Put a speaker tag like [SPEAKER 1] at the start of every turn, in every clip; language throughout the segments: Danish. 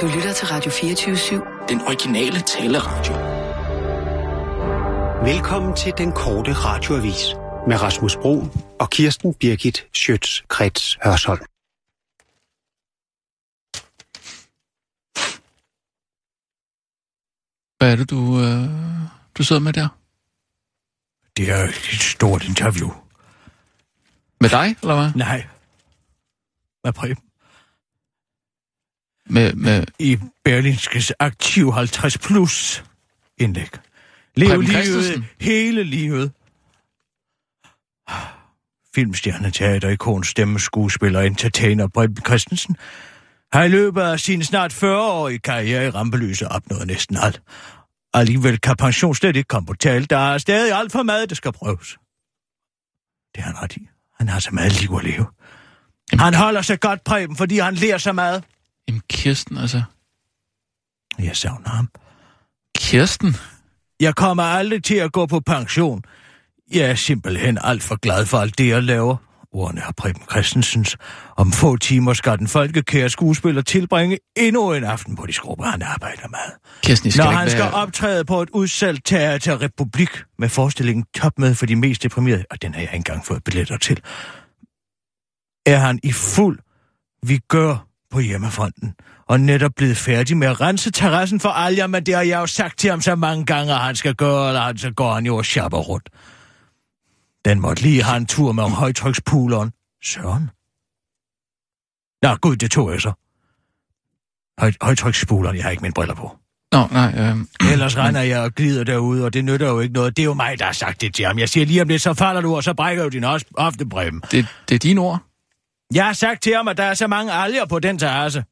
[SPEAKER 1] Du lytter til Radio 24-7.
[SPEAKER 2] Den originale taleradio.
[SPEAKER 3] Velkommen til den korte radioavis med Rasmus Bro og Kirsten Birgit Schøtz-Krets Hørsholm.
[SPEAKER 4] Hvad er det, du, øh, du sidder med der?
[SPEAKER 5] Det er et stort interview.
[SPEAKER 4] Med dig, eller hvad?
[SPEAKER 5] Nej. Hvad Preben?
[SPEAKER 4] Med, med
[SPEAKER 5] I Berlinskes Aktiv 50 Plus indlæg. Lev
[SPEAKER 4] Preben
[SPEAKER 5] livet,
[SPEAKER 4] Christensen?
[SPEAKER 5] hele livet. Filmstjerne, teater, ikon, stemme, skuespiller, entertainer Preben Christensen har i løbet af sin snart 40-årige karriere i rampelyset opnået næsten alt. Alligevel kan pension slet ikke komme på tale. Der er stadig alt for meget, der skal prøves. Det har han ret i. Han har så meget liv at leve. Han holder sig godt, Preben, fordi han lærer så meget.
[SPEAKER 4] jamen, Kirsten, altså.
[SPEAKER 5] Jeg savner ham.
[SPEAKER 4] Kirsten?
[SPEAKER 5] Jeg kommer aldrig til at gå på pension. Jeg er simpelthen alt for glad for alt det, jeg laver. Ordene er Preben Christensens. Om få timer skal den folkekære skuespiller tilbringe endnu en aften på de skrubber, han arbejder med.
[SPEAKER 4] Kirsten, I skal
[SPEAKER 5] Når
[SPEAKER 4] ikke
[SPEAKER 5] han skal
[SPEAKER 4] være...
[SPEAKER 5] optræde på et udsalgt teater Republik med forestillingen Topmøde for de mest deprimerede, og den har jeg ikke engang fået billetter til, er han i fuld vi gør på hjemmefronten, og netop blevet færdig med at rense terrassen for alger, men det har jeg jo sagt til ham så mange gange, at han skal gøre, eller han, så går han jo og shopper rundt. Den måtte lige have en tur med højtrykspuleren. Søren. Nå, gud, det tog jeg så. Høj, højtrykspuleren, jeg har ikke mine briller på.
[SPEAKER 4] Nå, nej, øh,
[SPEAKER 5] Ellers render jeg og glider derude, og det nytter jo ikke noget. Det er jo mig, der har sagt det til ham. Jeg siger lige om lidt, så falder du, og så brækker du din hoftebrem.
[SPEAKER 4] det, det er dine ord.
[SPEAKER 5] Jeg har sagt til ham, at der er så mange alger på den terrasse.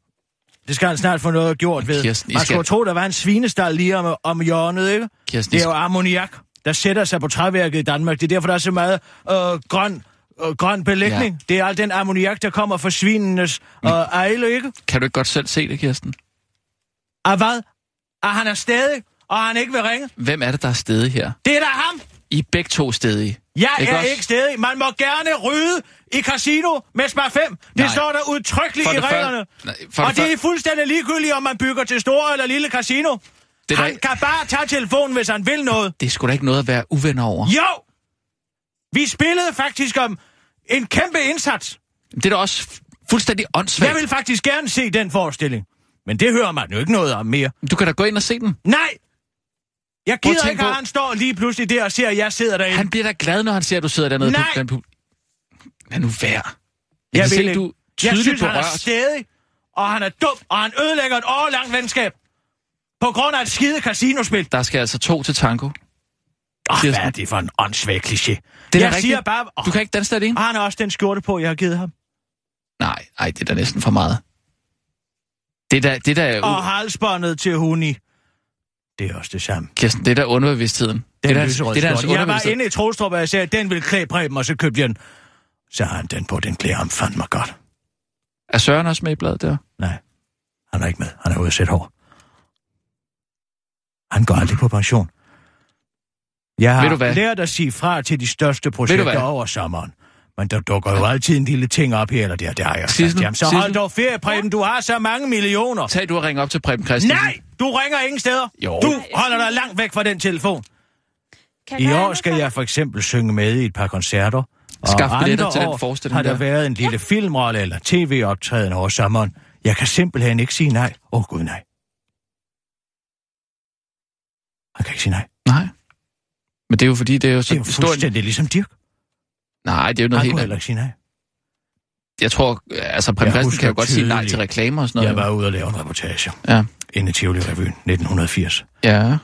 [SPEAKER 5] Det skal han snart få noget gjort ved.
[SPEAKER 4] Kirsten, I
[SPEAKER 5] Man
[SPEAKER 4] skal-
[SPEAKER 5] skulle tro, der var en svinestal lige om, om hjørnet, ikke?
[SPEAKER 4] Kirsten, I
[SPEAKER 5] Det er jo
[SPEAKER 4] skal-
[SPEAKER 5] ammoniak, der sætter sig på træværket i Danmark. Det er derfor, der er så meget øh, grøn, øh, grøn belægning.
[SPEAKER 4] Ja. Mm.
[SPEAKER 5] Ja. Det er al den ammoniak, der kommer fra svinenes øh, ejle, ikke?
[SPEAKER 4] Kan du ikke godt selv se det, Kirsten?
[SPEAKER 5] Og hvad? Og han er stadig, og han ikke vil ringe.
[SPEAKER 4] Hvem er det, der er stede her?
[SPEAKER 5] Det er da ham!
[SPEAKER 4] I er begge to stedige.
[SPEAKER 5] Jeg
[SPEAKER 4] Ikke
[SPEAKER 5] ikke er
[SPEAKER 4] også?
[SPEAKER 5] ikke stedig. Man må gerne ryde i casino med spar 5. Det
[SPEAKER 4] Nej.
[SPEAKER 5] Nej. står der udtrykkeligt
[SPEAKER 4] For
[SPEAKER 5] i
[SPEAKER 4] det første-
[SPEAKER 5] reglerne.
[SPEAKER 4] Nej, for
[SPEAKER 5] og
[SPEAKER 4] det
[SPEAKER 5] det,
[SPEAKER 4] første-
[SPEAKER 5] er fuldstændig ligegyldigt, om man bygger til store eller lille casino.
[SPEAKER 4] Det
[SPEAKER 5] Det
[SPEAKER 4] er
[SPEAKER 5] han
[SPEAKER 4] da-
[SPEAKER 5] kan bare tage telefonen, hvis han vil noget.
[SPEAKER 4] Det er sgu da ikke noget at være uvenner over.
[SPEAKER 5] Jo! Vi spillede faktisk om en kæmpe indsats.
[SPEAKER 4] Det er da også fu- fuldstændig åndssvagt.
[SPEAKER 5] Jeg vil faktisk gerne se den forestilling. Men det hører man jo ikke noget om mere.
[SPEAKER 4] Du kan da gå ind og se den.
[SPEAKER 5] Nej! Jeg
[SPEAKER 4] Prøv at
[SPEAKER 5] gider
[SPEAKER 4] tænke
[SPEAKER 5] ikke, at
[SPEAKER 4] på-
[SPEAKER 5] han står lige pludselig der og ser, at jeg sidder derinde.
[SPEAKER 4] Han bliver da glad, når han ser, at du sidder dernede.
[SPEAKER 5] Nej!
[SPEAKER 4] På, den, på... Lad nu være.
[SPEAKER 5] Jeg
[SPEAKER 4] Jeg, kan
[SPEAKER 5] vil
[SPEAKER 4] se,
[SPEAKER 5] ikke.
[SPEAKER 4] du er
[SPEAKER 5] Jeg
[SPEAKER 4] tydeligt
[SPEAKER 5] synes, han er
[SPEAKER 4] berørt.
[SPEAKER 5] stedig, og han er dum, og han ødelægger et årlangt venskab. På grund af et skide casinospil.
[SPEAKER 4] Der skal altså to til tango.
[SPEAKER 5] Oh, hvad
[SPEAKER 4] Kirsten.
[SPEAKER 5] er det for en åndssvag kliché?
[SPEAKER 4] Det er
[SPEAKER 5] Jeg
[SPEAKER 4] da
[SPEAKER 5] siger
[SPEAKER 4] rigtigt.
[SPEAKER 5] bare... Oh,
[SPEAKER 4] Du kan ikke danse det
[SPEAKER 5] Og han har også den skjorte på, jeg har givet ham.
[SPEAKER 4] Nej, ej, det er da næsten for meget. Det der, det der,
[SPEAKER 5] Og
[SPEAKER 4] uh,
[SPEAKER 5] halsbåndet til Huni. Det er også det samme.
[SPEAKER 4] Kirsten, det der underbevidstheden.
[SPEAKER 5] Den
[SPEAKER 4] Det der,
[SPEAKER 5] lyserøde
[SPEAKER 4] det der hans
[SPEAKER 5] skjorte. Jeg var
[SPEAKER 4] underbevidsthed.
[SPEAKER 5] inde i Trostrup, og jeg sagde, at den ville klæde Preben, og så købte jeg den. Så har han den på, den klæder ham fandme godt.
[SPEAKER 4] Er Søren også med i bladet der?
[SPEAKER 5] Nej, han er ikke med. Han er ude at sætte hår. Han går aldrig på pension. Jeg har
[SPEAKER 4] Ved du hvad?
[SPEAKER 5] lært at sige fra til de største
[SPEAKER 4] hvad?
[SPEAKER 5] projekter over sommeren. Men der dukker jo altid en lille ting op her, eller der, der har jeg også sagt
[SPEAKER 4] Sissel,
[SPEAKER 5] til ham. Så
[SPEAKER 4] Sissel.
[SPEAKER 5] hold dog ferie, Preben. Du har så mange millioner.
[SPEAKER 4] Tag du og ring op til Preben Christensen.
[SPEAKER 5] Nej! Du ringer ingen steder.
[SPEAKER 4] Jo.
[SPEAKER 5] Du holder dig langt væk fra den telefon.
[SPEAKER 6] Kan
[SPEAKER 5] I
[SPEAKER 6] gøre
[SPEAKER 5] år
[SPEAKER 6] andet
[SPEAKER 5] skal
[SPEAKER 6] for
[SPEAKER 5] jeg for eksempel synge med i et par koncerter. Og
[SPEAKER 4] Skaf
[SPEAKER 5] andre
[SPEAKER 4] billetter til den
[SPEAKER 5] år
[SPEAKER 4] forestilling
[SPEAKER 5] har der
[SPEAKER 4] der.
[SPEAKER 5] været en lille filmrolle eller tv-optræden over sommeren. Jeg kan simpelthen ikke sige nej. Åh oh, gud nej. Jeg kan ikke sige nej.
[SPEAKER 4] Nej. Men det er jo fordi, det er jo
[SPEAKER 5] Det
[SPEAKER 4] så
[SPEAKER 5] er jo
[SPEAKER 4] stor... en-
[SPEAKER 5] fuldstændig ligesom Dirk.
[SPEAKER 4] Nej, det er jo noget
[SPEAKER 5] Han
[SPEAKER 4] helt
[SPEAKER 5] kunne heller
[SPEAKER 4] andet.
[SPEAKER 5] ikke sige nej.
[SPEAKER 4] Jeg tror, altså Preben
[SPEAKER 5] Jeg
[SPEAKER 4] Christensen kan
[SPEAKER 5] husker
[SPEAKER 4] jo godt sige nej
[SPEAKER 5] tydeligt.
[SPEAKER 4] til reklamer og sådan
[SPEAKER 5] Jeg
[SPEAKER 4] noget.
[SPEAKER 5] var ude og lave en reportage
[SPEAKER 4] Ja.
[SPEAKER 5] inde i Tivoli Revyen 1980.
[SPEAKER 4] Ja.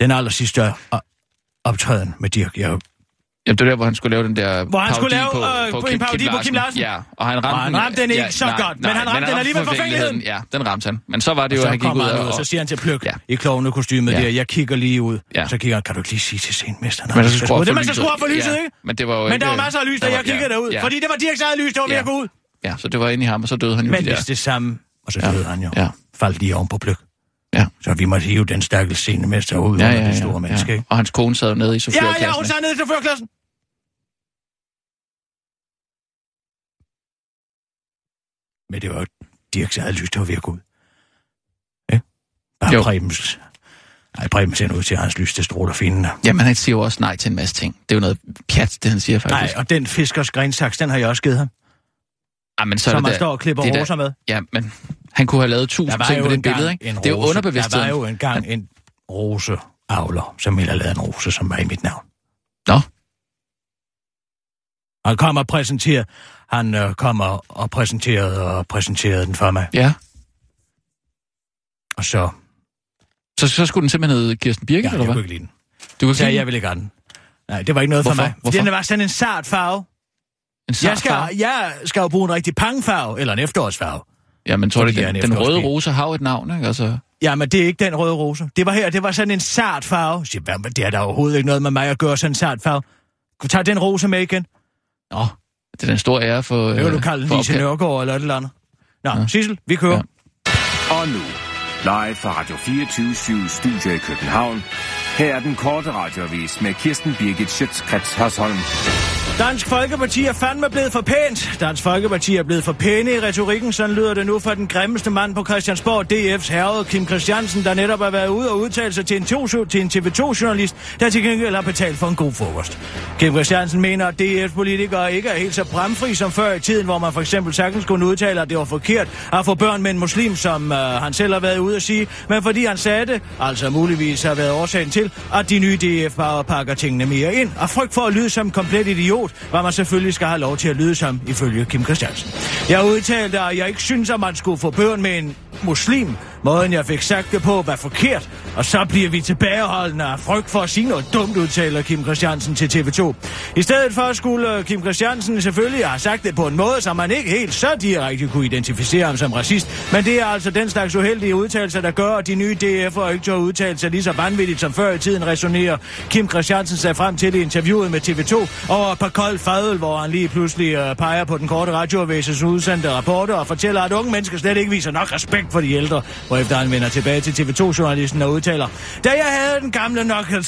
[SPEAKER 5] Den aller sidste øh, optræden med Dirk. Jeg
[SPEAKER 4] Jamen, det var der, hvor han skulle lave den der
[SPEAKER 5] Hvor han skulle
[SPEAKER 4] parodi
[SPEAKER 5] lave,
[SPEAKER 4] på,
[SPEAKER 5] øh,
[SPEAKER 4] på
[SPEAKER 5] en
[SPEAKER 4] Kim,
[SPEAKER 5] parodi
[SPEAKER 4] Kim
[SPEAKER 5] på Kim Larsen.
[SPEAKER 4] Ja, og han ramte,
[SPEAKER 5] Og han ramte den ikke
[SPEAKER 4] ja,
[SPEAKER 5] så
[SPEAKER 4] nej,
[SPEAKER 5] godt, men
[SPEAKER 4] nej,
[SPEAKER 5] han ramte den alligevel
[SPEAKER 4] forfængeligheden. Ja, den ramte han. Men så var det jo, at
[SPEAKER 5] så
[SPEAKER 4] han gik ud
[SPEAKER 5] kommer han
[SPEAKER 4] og...
[SPEAKER 5] ud, og så siger han til Pløk
[SPEAKER 4] Ja.
[SPEAKER 5] ja. i klovnekostymet
[SPEAKER 4] Ja.
[SPEAKER 5] ja. der, jeg kigger lige ud.
[SPEAKER 4] Ja.
[SPEAKER 5] Ja. Så kigger han, kan du ikke lige sige til scenmesteren? at
[SPEAKER 4] Men
[SPEAKER 5] han
[SPEAKER 4] så
[SPEAKER 5] skal
[SPEAKER 4] skrue
[SPEAKER 5] skrue-
[SPEAKER 4] op for
[SPEAKER 5] Det- man skal
[SPEAKER 4] lyset.
[SPEAKER 5] skrue op for lyset,
[SPEAKER 4] Ja,
[SPEAKER 5] ikke?
[SPEAKER 4] men det var jo
[SPEAKER 5] Men
[SPEAKER 4] ikke-
[SPEAKER 5] der var masser af lys, da
[SPEAKER 4] der
[SPEAKER 5] jeg
[SPEAKER 4] var- ja,
[SPEAKER 5] kiggede derud.
[SPEAKER 4] ja.
[SPEAKER 5] Fordi det var Dirks eget lys, det var ved
[SPEAKER 4] Ja.
[SPEAKER 5] at gå ud.
[SPEAKER 4] Ja, så det var inde i ham, og så døde han jo
[SPEAKER 5] Men
[SPEAKER 4] de der.
[SPEAKER 5] hvis det samme, og så
[SPEAKER 4] Ja.
[SPEAKER 5] døde han jo,
[SPEAKER 4] Ja.
[SPEAKER 5] faldt lige oven på Pløk.
[SPEAKER 4] Ja.
[SPEAKER 5] Så vi måtte hive den stakkels scenemester ud ja, under det store menneske, ikke?
[SPEAKER 4] Og hans kone sad jo nede i
[SPEAKER 5] Ja,
[SPEAKER 4] chaufførklassen.
[SPEAKER 5] ja, hun sad nede i chaufførklassen. Men det var jo Dirks eget lys, der var ved at gå ud. Bare
[SPEAKER 4] Jo.
[SPEAKER 5] Prebens. Nej, Preben ser ud til, at hans lys, det stråler findende.
[SPEAKER 4] Jamen, han siger jo også nej til en masse ting. Det er jo noget pjat, det han siger
[SPEAKER 5] Nej,
[SPEAKER 4] faktisk.
[SPEAKER 5] og den fiskers grensaks, den har jeg også givet ham.
[SPEAKER 4] Ej, Ah, men så er
[SPEAKER 5] som
[SPEAKER 4] det
[SPEAKER 5] han
[SPEAKER 4] der-
[SPEAKER 5] står og klipper
[SPEAKER 4] det er der-
[SPEAKER 5] roser med.
[SPEAKER 4] Ja, men han kunne have lavet
[SPEAKER 5] Der
[SPEAKER 4] tusind
[SPEAKER 5] var
[SPEAKER 4] ting
[SPEAKER 5] jo
[SPEAKER 4] på det
[SPEAKER 5] engang
[SPEAKER 4] billede, ikke?
[SPEAKER 5] en
[SPEAKER 4] Det er jo
[SPEAKER 5] rose. Der
[SPEAKER 4] underbevidstheden.
[SPEAKER 5] var jo engang en roseavler, som ville have lavet en rose, som var i mit navn.
[SPEAKER 4] Nå.
[SPEAKER 5] Han kom og præsenterede, han øh, kom og, og præsenterede og præsenterede den for mig.
[SPEAKER 4] Ja,
[SPEAKER 5] Og så,
[SPEAKER 4] så, så skulle den simpelthen hedde Kirsten Birgit,
[SPEAKER 5] ja,
[SPEAKER 4] ja,
[SPEAKER 5] jeg
[SPEAKER 4] eller
[SPEAKER 5] kunne
[SPEAKER 4] hvad?
[SPEAKER 5] ikke lide den.
[SPEAKER 4] Du kan
[SPEAKER 5] Så
[SPEAKER 4] sige
[SPEAKER 5] jeg ville ikke have den. Nej, det var ikke noget
[SPEAKER 4] Hvorfor?
[SPEAKER 5] for mig.
[SPEAKER 4] Hvorfor?
[SPEAKER 5] Den var sådan en sart farve.
[SPEAKER 4] en
[SPEAKER 5] Jeg
[SPEAKER 4] sart
[SPEAKER 5] skal,
[SPEAKER 4] farve.
[SPEAKER 5] jeg skal jo bruge en rigtig pangfarve, eller en efterårsfarve.
[SPEAKER 4] Jamen, tror du,
[SPEAKER 5] Fordi
[SPEAKER 4] ikke,
[SPEAKER 5] jeg er
[SPEAKER 4] den,
[SPEAKER 5] en
[SPEAKER 4] den røde
[SPEAKER 5] efterårspige.
[SPEAKER 4] rose har jo et navn, ikke? Altså,
[SPEAKER 5] Jamen, det er ikke den røde rose. Det var her, det var sådan en sart farve. Jeg siger, hvad, med- det er der overhovedet ikke noget med mig at gøre, sådan en sart farve. Kunne tage den rose med igen.
[SPEAKER 4] nå, det er den store ære for... øh,
[SPEAKER 5] Det kan du kalde den
[SPEAKER 4] for
[SPEAKER 5] Lise
[SPEAKER 4] opkald-
[SPEAKER 5] Nørgaard eller et eller andet. Nå, Sissel, vi kører.
[SPEAKER 4] Ja.
[SPEAKER 6] Og nu, live fra Radio 24 Studio i København. Her er den korte radiovis med Kirsten Birgit Schøtzgrads Hasholm.
[SPEAKER 5] Dansk Folkeparti er fandme blevet for pænt. Dansk Folkeparti er blevet for pæne i retorikken. Sådan lyder det nu fra den grimmeste mand på Christiansborg, DF's herre Kim Christiansen, der netop har været ude og udtale sig til en, to- til en TV2-journalist, der til gengæld har betalt for en god frokost. Kim Christiansen mener, at DF-politikere ikke er helt så bramfri som før i tiden, hvor man for eksempel sagtens kunne udtale, at det var forkert at få børn med en muslim, som øh, han selv har været ude at sige, men fordi han sagde det, altså muligvis har været årsagen til, at de nye DF bare pakker tingene mere ind. Og frygt for at lyde som en komplet idiot, hvad man selvfølgelig skal have lov til at lyde som, ifølge Kim Christiansen. Jeg udtalte, at jeg ikke synes, at man skulle få børn med en muslim. Måden, jeg fik sagt det på, var forkert, og så bliver vi tilbageholdende af frygt for at sige noget dumt, udtaler Kim Christiansen til TV2. I stedet for skulle øh, Kim Christiansen selvfølgelig have sagt det på en måde, så man ikke helt så direkte kunne identificere ham som racist, men det er altså den slags uheldige udtalelser, der gør, at de nye DF'er ikke tør udtale sig lige så vanvittigt som før i tiden resonerer. Kim Christiansen sagde frem til det i interviewet med TV2 over et par kold fadøl, hvor han lige pludselig øh, peger på den korte radioavises udsendte rapporter og fortæller, at unge mennesker slet ikke viser nok respekt for de ældre, hvorefter han vender tilbage til TV2-journalisten og udtaler, da jeg havde den gamle Nokia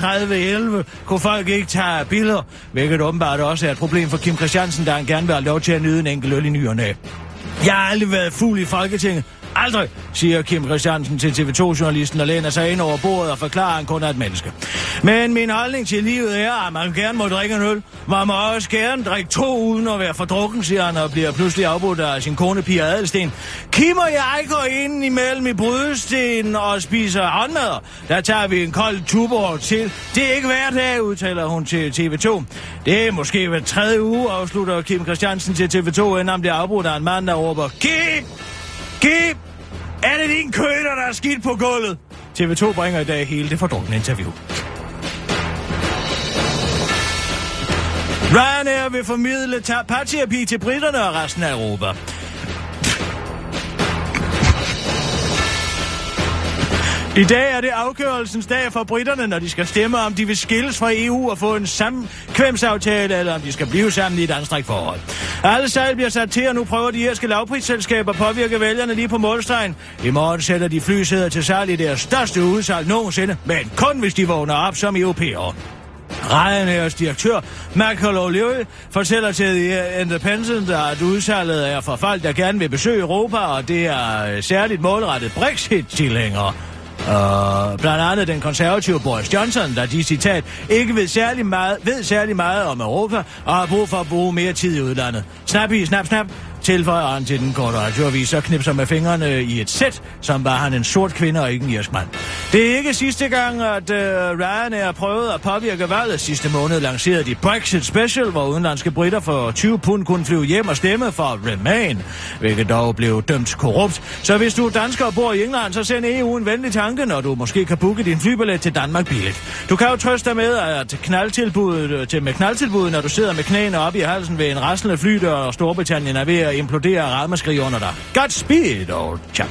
[SPEAKER 5] 3311, kunne folk ikke tage billeder, hvilket åbenbart også er et problem for Kim Christiansen, der han gerne vil have lov til at nyde en enkelt øl i ny og næ. Jeg har aldrig været fuld i Folketinget. Aldrig, siger Kim Christiansen til TV2-journalisten og læner sig ind over bordet og forklarer, at han kun er et menneske. Men min holdning til livet er, at man gerne må drikke en øl. Man må også gerne drikke to uden at være for drukken, siger han, og bliver pludselig afbrudt af sin kone Pia Adelsten. Kim og jeg går ind imellem i brydestenen og spiser håndmad. Der tager vi en kold tuborg til. Det er ikke hver dag, udtaler hun til TV2. Det er måske hver tredje uge, afslutter Kim Christiansen til TV2, inden han bliver afbrudt af en mand, der råber, Kim! Kim! Er det din køder, der er skidt på gulvet? TV2 bringer i dag hele det fordrukne interview. Ryanair vil formidle ta- parterapi til britterne og resten af Europa. I dag er det afgørelsens dag for britterne, når de skal stemme, om de vil skilles fra EU og få en samkvemsaftale, eller om de skal blive sammen i et anstrengt forhold. Alle sejl bliver sat til, og nu prøver de irske lavprisselskaber at påvirke vælgerne lige på målstregen. I morgen sætter de flysæder til salg i deres største udsalg nogensinde, men kun hvis de vågner op som europæere. Ryanairs direktør, Michael O'Leary, fortæller til The Independent, at udsalget er for folk, der gerne vil besøge Europa, og det er øh, særligt målrettet Brexit-tilhængere. Uh, blandt andet den konservative Boris Johnson, der de citat ikke ved særlig, meget, ved særlig meget om Europa og har brug for at bruge mere tid i udlandet. Snap i, snap, snap, tilføjer han til den korte radioavis og knipser med fingrene i et sæt, som var han en sort kvinde og ikke en irsk mand. Det er ikke sidste gang, at øh, Ryanair prøvede at påvirke valget. Sidste måned lancerede de Brexit Special, hvor udenlandske britter for 20 pund kunne flyve hjem og stemme for Remain, hvilket dog blev dømt korrupt. Så hvis du er dansker og bor i England, så send EU en venlig tanke, når du måske kan booke din flybillet til Danmark billigt. Du kan jo trøste dig med, at knaldtilbuddet, øh, til med knaldtilbuddet, når du sidder med knæene op i halsen ved en raslende flydør, og Storbritannien er ved at implodere og ramaskrig under dig. Godt speed, old chap.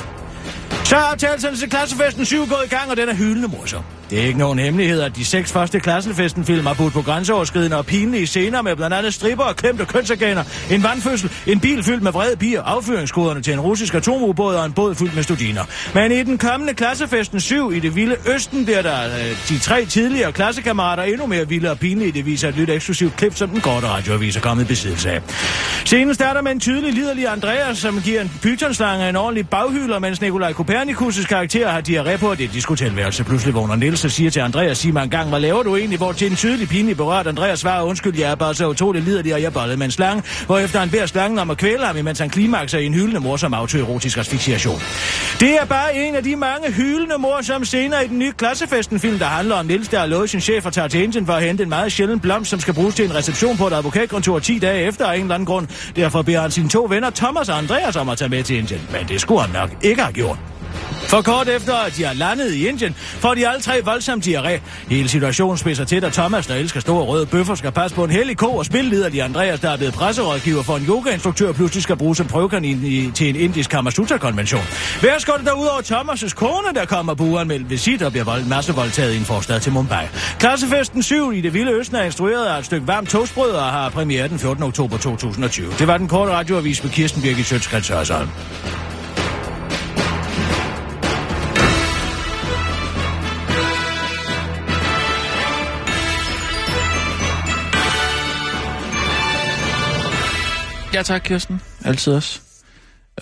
[SPEAKER 5] Så er optagelserne til klassefesten 7 gået i gang, og den er hyldende morsom. Det er ikke nogen hemmelighed, at de seks første klassenfesten-film har budt på grænseoverskridende og pinlige scener med blandt andet stripper og klemte kønsorganer, en vandfødsel, en bil fyldt med vrede piger, affyringskoderne til en russisk atomubåd og en båd fyldt med studiner. Men i den kommende klassefesten 7 i det vilde Østen bliver der øh, de tre tidligere klassekammerater endnu mere vilde og pinlige. Det viser et nyt eksklusivt klip, som den korte radioavis er kommet i besiddelse af. Scenen starter med en tydelig liderlig Andreas, som giver en pythonslange en ordentlig baghylder, mens Nikolaj Kopernikus' karakter har diarré på det diskotilværelse. Pludselig vågner Niels og siger til Andreas, sig mig en gang, hvad laver du egentlig, hvor til en tydelig pinlig berørt Andreas svarer, undskyld, jeg er bare så utrolig liderlig, og jeg bollede med en slange, hvorefter han beder slangen om at kvæle ham, imens han klimakser i en hyldende morsom autoerotisk asfixiation. Det er bare en af de mange hyldende morsomme scener i den nye klassefesten-film, der handler om Niels, der har lovet sin chef at tage til Indien for at hente en meget sjælden blomst, som skal bruges til en reception på et advokatkontor 10 dage efter af en eller anden grund. Derfor beder han sine to venner Thomas og Andreas om at tage med til Indien, men det skulle han nok ikke have gjort. For kort efter, at de er landet i Indien, får de alle tre voldsomt diarré. Hele situationen spidser til, da Thomas, der elsker store røde bøffer, skal passe på en hellig ko, og spilleder de Andreas, der er blevet presserådgiver for en yogainstruktør, pludselig skal bruge som prøvekanin i, til en indisk Kamasutra-konvention. Hver skal der ud over Thomas' kone, der kommer på uanmeldt visit og bliver vold, massevoldtaget i en forstad til Mumbai. Klassefesten 7 i det vilde østen er instrueret af et stykke varmt toastbrød og har premiere den 14. oktober 2020. Det var den korte radioavis med Kirsten Birgit Sjøtskrets Hørsholm.
[SPEAKER 4] Ja tak, Kirsten. Altid også.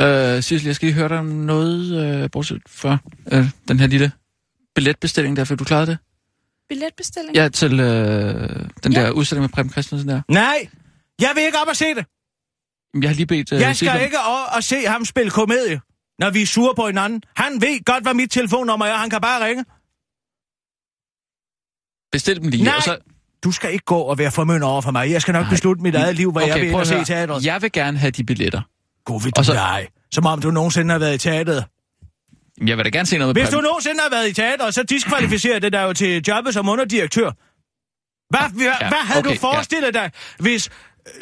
[SPEAKER 4] Øh, Sissel, jeg skal lige høre dig om noget, øh, bortset fra øh, den her lille billetbestilling der, fik du klaret det?
[SPEAKER 7] Billetbestilling?
[SPEAKER 4] Ja, til øh, den
[SPEAKER 7] Ja.
[SPEAKER 4] der udstilling med Preben Christensen der.
[SPEAKER 5] Nej! Jeg vil ikke op og se det!
[SPEAKER 4] Jamen, Jeg har lige bedt... Øh,
[SPEAKER 5] Jeg
[SPEAKER 4] Sissel
[SPEAKER 5] skal
[SPEAKER 4] om-
[SPEAKER 5] ikke over og se ham spille komedie, når vi er sure på hinanden. Han ved godt, hvad mit telefonnummer er. Han kan bare ringe.
[SPEAKER 4] Bestil dem lige.
[SPEAKER 5] Nej!
[SPEAKER 4] Og så,
[SPEAKER 5] Du skal ikke gå og være formynder over for mig. Jeg skal nok beslutte mit eget liv, hvor okay, jeg vil ind
[SPEAKER 4] prøv
[SPEAKER 5] og
[SPEAKER 4] at
[SPEAKER 5] se i
[SPEAKER 4] høre.
[SPEAKER 5] teateret. Ja.
[SPEAKER 4] Jeg vil gerne have de billetter.
[SPEAKER 5] God ved
[SPEAKER 4] Og
[SPEAKER 5] du
[SPEAKER 4] så-
[SPEAKER 5] dig. Som om du nogensinde har været i teateret.
[SPEAKER 4] Jamen, Jeg vil da gerne se noget med
[SPEAKER 5] Hvis du
[SPEAKER 4] Preben.
[SPEAKER 5] nogensinde har været i teateret, så diskvalificerer det dig jo til jobbet som underdirektør. Hvad, hvad, ja, hvad havde okay,
[SPEAKER 4] okay,
[SPEAKER 5] du
[SPEAKER 4] ja.
[SPEAKER 5] forestillet ja. dig, hvis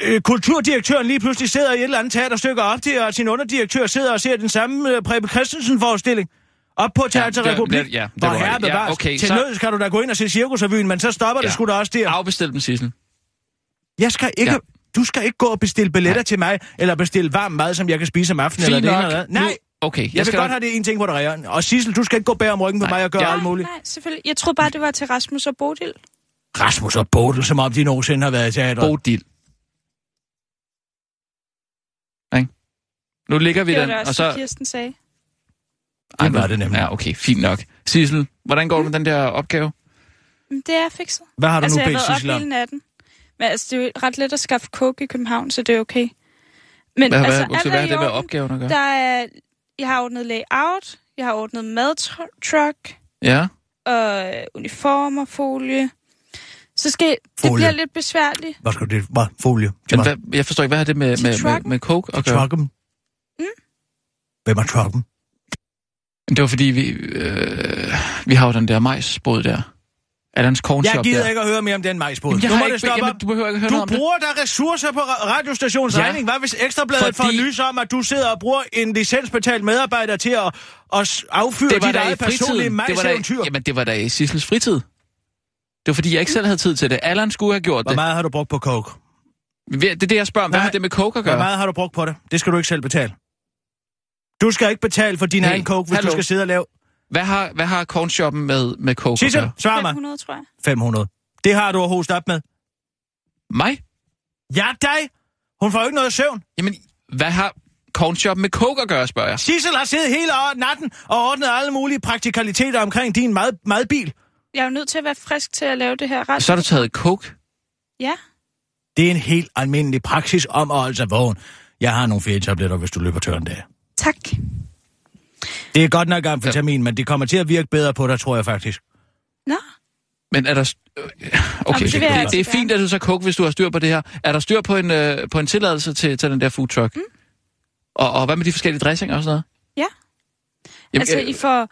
[SPEAKER 5] øh, kulturdirektøren lige pludselig sidder i et eller andet teaterstykke op til, og sin underdirektør sidder og ser den samme øh, Preben Christensen-forestilling? Op på Teater
[SPEAKER 4] det var-
[SPEAKER 5] Republik.
[SPEAKER 4] det- ja, det
[SPEAKER 5] Hvor
[SPEAKER 4] var
[SPEAKER 5] herre
[SPEAKER 4] rigtigt. Ja,
[SPEAKER 5] bevares.
[SPEAKER 4] okay,
[SPEAKER 5] til
[SPEAKER 4] så-
[SPEAKER 5] nød skal du da gå ind og se Cirkusrevyen, men så stopper ja.
[SPEAKER 4] Ja.
[SPEAKER 5] det sgu da også der.
[SPEAKER 4] Afbestil dem, Sissel.
[SPEAKER 5] Jeg skal ikke...
[SPEAKER 4] Ja.
[SPEAKER 5] Du skal ikke gå og bestille billetter Nej. til mig, eller bestille varm mad, som jeg kan spise om aftenen, eller
[SPEAKER 4] Fint
[SPEAKER 5] det ene
[SPEAKER 4] nok.
[SPEAKER 5] eller andet.
[SPEAKER 4] Nu-
[SPEAKER 5] Nej,
[SPEAKER 4] Okay, jeg,
[SPEAKER 5] jeg, jeg vil
[SPEAKER 4] skal
[SPEAKER 5] godt have det ene ting på dig, Og Sissel, du skal ikke gå bag om ryggen på
[SPEAKER 4] Nej.
[SPEAKER 5] mig og gøre
[SPEAKER 4] Ja.
[SPEAKER 5] alt muligt.
[SPEAKER 7] Nej, selvfølgelig. Jeg troede bare, det var til Rasmus og Bodil.
[SPEAKER 5] Rasmus og Bodil, som om de nogensinde har været i teateret.
[SPEAKER 4] Bodil. Ikke? Nu ligger vi
[SPEAKER 7] Det var
[SPEAKER 4] den,
[SPEAKER 7] det
[SPEAKER 4] og
[SPEAKER 7] også, så...
[SPEAKER 4] så...
[SPEAKER 7] Kirsten sagde.
[SPEAKER 4] Ej,
[SPEAKER 5] Det var
[SPEAKER 4] men-
[SPEAKER 5] det nemlig.
[SPEAKER 4] Ja, okay, fint nok. Sissel, hvordan går det med den der opgave?
[SPEAKER 7] Men det er fikset.
[SPEAKER 5] Hvad har du
[SPEAKER 7] altså,
[SPEAKER 5] nu
[SPEAKER 7] jeg
[SPEAKER 5] bedt
[SPEAKER 7] været
[SPEAKER 5] Sissel
[SPEAKER 7] op hele
[SPEAKER 5] om?
[SPEAKER 7] natten. Men altså, det er jo ret let at skaffe coke i København, så det er okay. Men
[SPEAKER 4] Hvad,
[SPEAKER 7] altså,
[SPEAKER 4] altså, hvad,
[SPEAKER 7] alt
[SPEAKER 4] okay,
[SPEAKER 7] er
[SPEAKER 4] hvad har
[SPEAKER 7] i
[SPEAKER 4] det med
[SPEAKER 7] orden.
[SPEAKER 4] opgaven at gøre?
[SPEAKER 7] Der er, jeg har ordnet layout, jeg har ordnet madtruck,
[SPEAKER 4] Ja,
[SPEAKER 7] og øh, uniformer, folie. Så skal, det
[SPEAKER 5] Folie.
[SPEAKER 7] bliver lidt besværligt.
[SPEAKER 5] Hvad skal det? Hvad? Folie? Til
[SPEAKER 4] men
[SPEAKER 5] mig.
[SPEAKER 4] hvad, jeg forstår ikke, hvad har det med,
[SPEAKER 7] Til
[SPEAKER 4] med, med,
[SPEAKER 7] trucken.
[SPEAKER 4] med coke at gøre?
[SPEAKER 5] Trucken?
[SPEAKER 7] Hmm?
[SPEAKER 5] Hvem er trucken?
[SPEAKER 4] Det var fordi, vi, øh, vi har jo den der majsbåd der. Adams Corn
[SPEAKER 5] Jeg
[SPEAKER 4] Shop
[SPEAKER 5] gider
[SPEAKER 4] der.
[SPEAKER 5] ikke at høre mere om den majsbåd.
[SPEAKER 4] Jamen, jeg
[SPEAKER 5] Nu
[SPEAKER 4] har
[SPEAKER 5] må det
[SPEAKER 4] ikke,
[SPEAKER 5] stoppe
[SPEAKER 4] jamen,
[SPEAKER 5] op.
[SPEAKER 4] du behøver ikke høre
[SPEAKER 5] Du
[SPEAKER 4] noget om det.
[SPEAKER 5] bruger da ressourcer på ra- radiostationens
[SPEAKER 4] Ja.
[SPEAKER 5] ja. regning. Hvad hvis Ekstrabladet Fordi...
[SPEAKER 4] Fordi-
[SPEAKER 5] får nys om, at du sidder og bruger en licensbetalt medarbejder til at, at s- affyre dit
[SPEAKER 4] da
[SPEAKER 5] eget personlige
[SPEAKER 4] Det var da,
[SPEAKER 5] majseventyr?
[SPEAKER 4] jamen, det var da i Sissels fritid. Det var fordi, jeg ikke selv havde tid til det. Allan skulle have gjort
[SPEAKER 5] Hvor
[SPEAKER 4] det.
[SPEAKER 5] meget har du brugt på coke?
[SPEAKER 4] Det er det, jeg spørger om. Hvad
[SPEAKER 5] Nej.
[SPEAKER 4] har det med coke at
[SPEAKER 5] Hvor
[SPEAKER 4] gøre?
[SPEAKER 5] meget har du brugt på det? Det skal du ikke selv betale. Du skal ikke betale for din
[SPEAKER 4] Hey,
[SPEAKER 5] egen coke, hvis
[SPEAKER 4] hallo.
[SPEAKER 5] du skal sidde og lave...
[SPEAKER 4] Hvad har, hvad har cornshoppen med, med coke at
[SPEAKER 5] Sissel,
[SPEAKER 4] gøre?
[SPEAKER 5] svar mig.
[SPEAKER 7] 500, tror jeg.
[SPEAKER 5] 500. Det har du at hoste op med.
[SPEAKER 4] Mig?
[SPEAKER 5] Ja, dig! Hun får jo ikke noget søvn.
[SPEAKER 4] Jamen, hvad har cornshoppen med coke at gøre, spørger jeg?
[SPEAKER 5] Sissel har siddet hele år- natten og ordnet alle mulige praktikaliteter omkring din mad, madbil.
[SPEAKER 7] Jeg er jo nødt til at være frisk til at lave det her ret.
[SPEAKER 4] Så har du taget coke?
[SPEAKER 7] Ja.
[SPEAKER 5] Det er en helt almindelig praksis om at holde sig vågen. Jeg har nogle ferietabletter, hvis du løber tør en dag.
[SPEAKER 7] Tak.
[SPEAKER 5] Det er godt nok amfetamin, ja. men det kommer til at virke bedre på dig, tror jeg faktisk.
[SPEAKER 7] Nå.
[SPEAKER 4] Men er der... st- øh, Okay,
[SPEAKER 7] det
[SPEAKER 4] det,
[SPEAKER 7] vil jeg
[SPEAKER 4] det,
[SPEAKER 7] altså
[SPEAKER 4] det er
[SPEAKER 7] gerne.
[SPEAKER 4] fint, at du så coke, hvis du har styr på det her. Er der styr på en, øh, på en tilladelse til, til den der food truck? Mm. Og, og hvad med de forskellige dressinger og sådan noget?
[SPEAKER 7] Ja.
[SPEAKER 4] Jamen,
[SPEAKER 7] altså,
[SPEAKER 4] øh,
[SPEAKER 7] I får...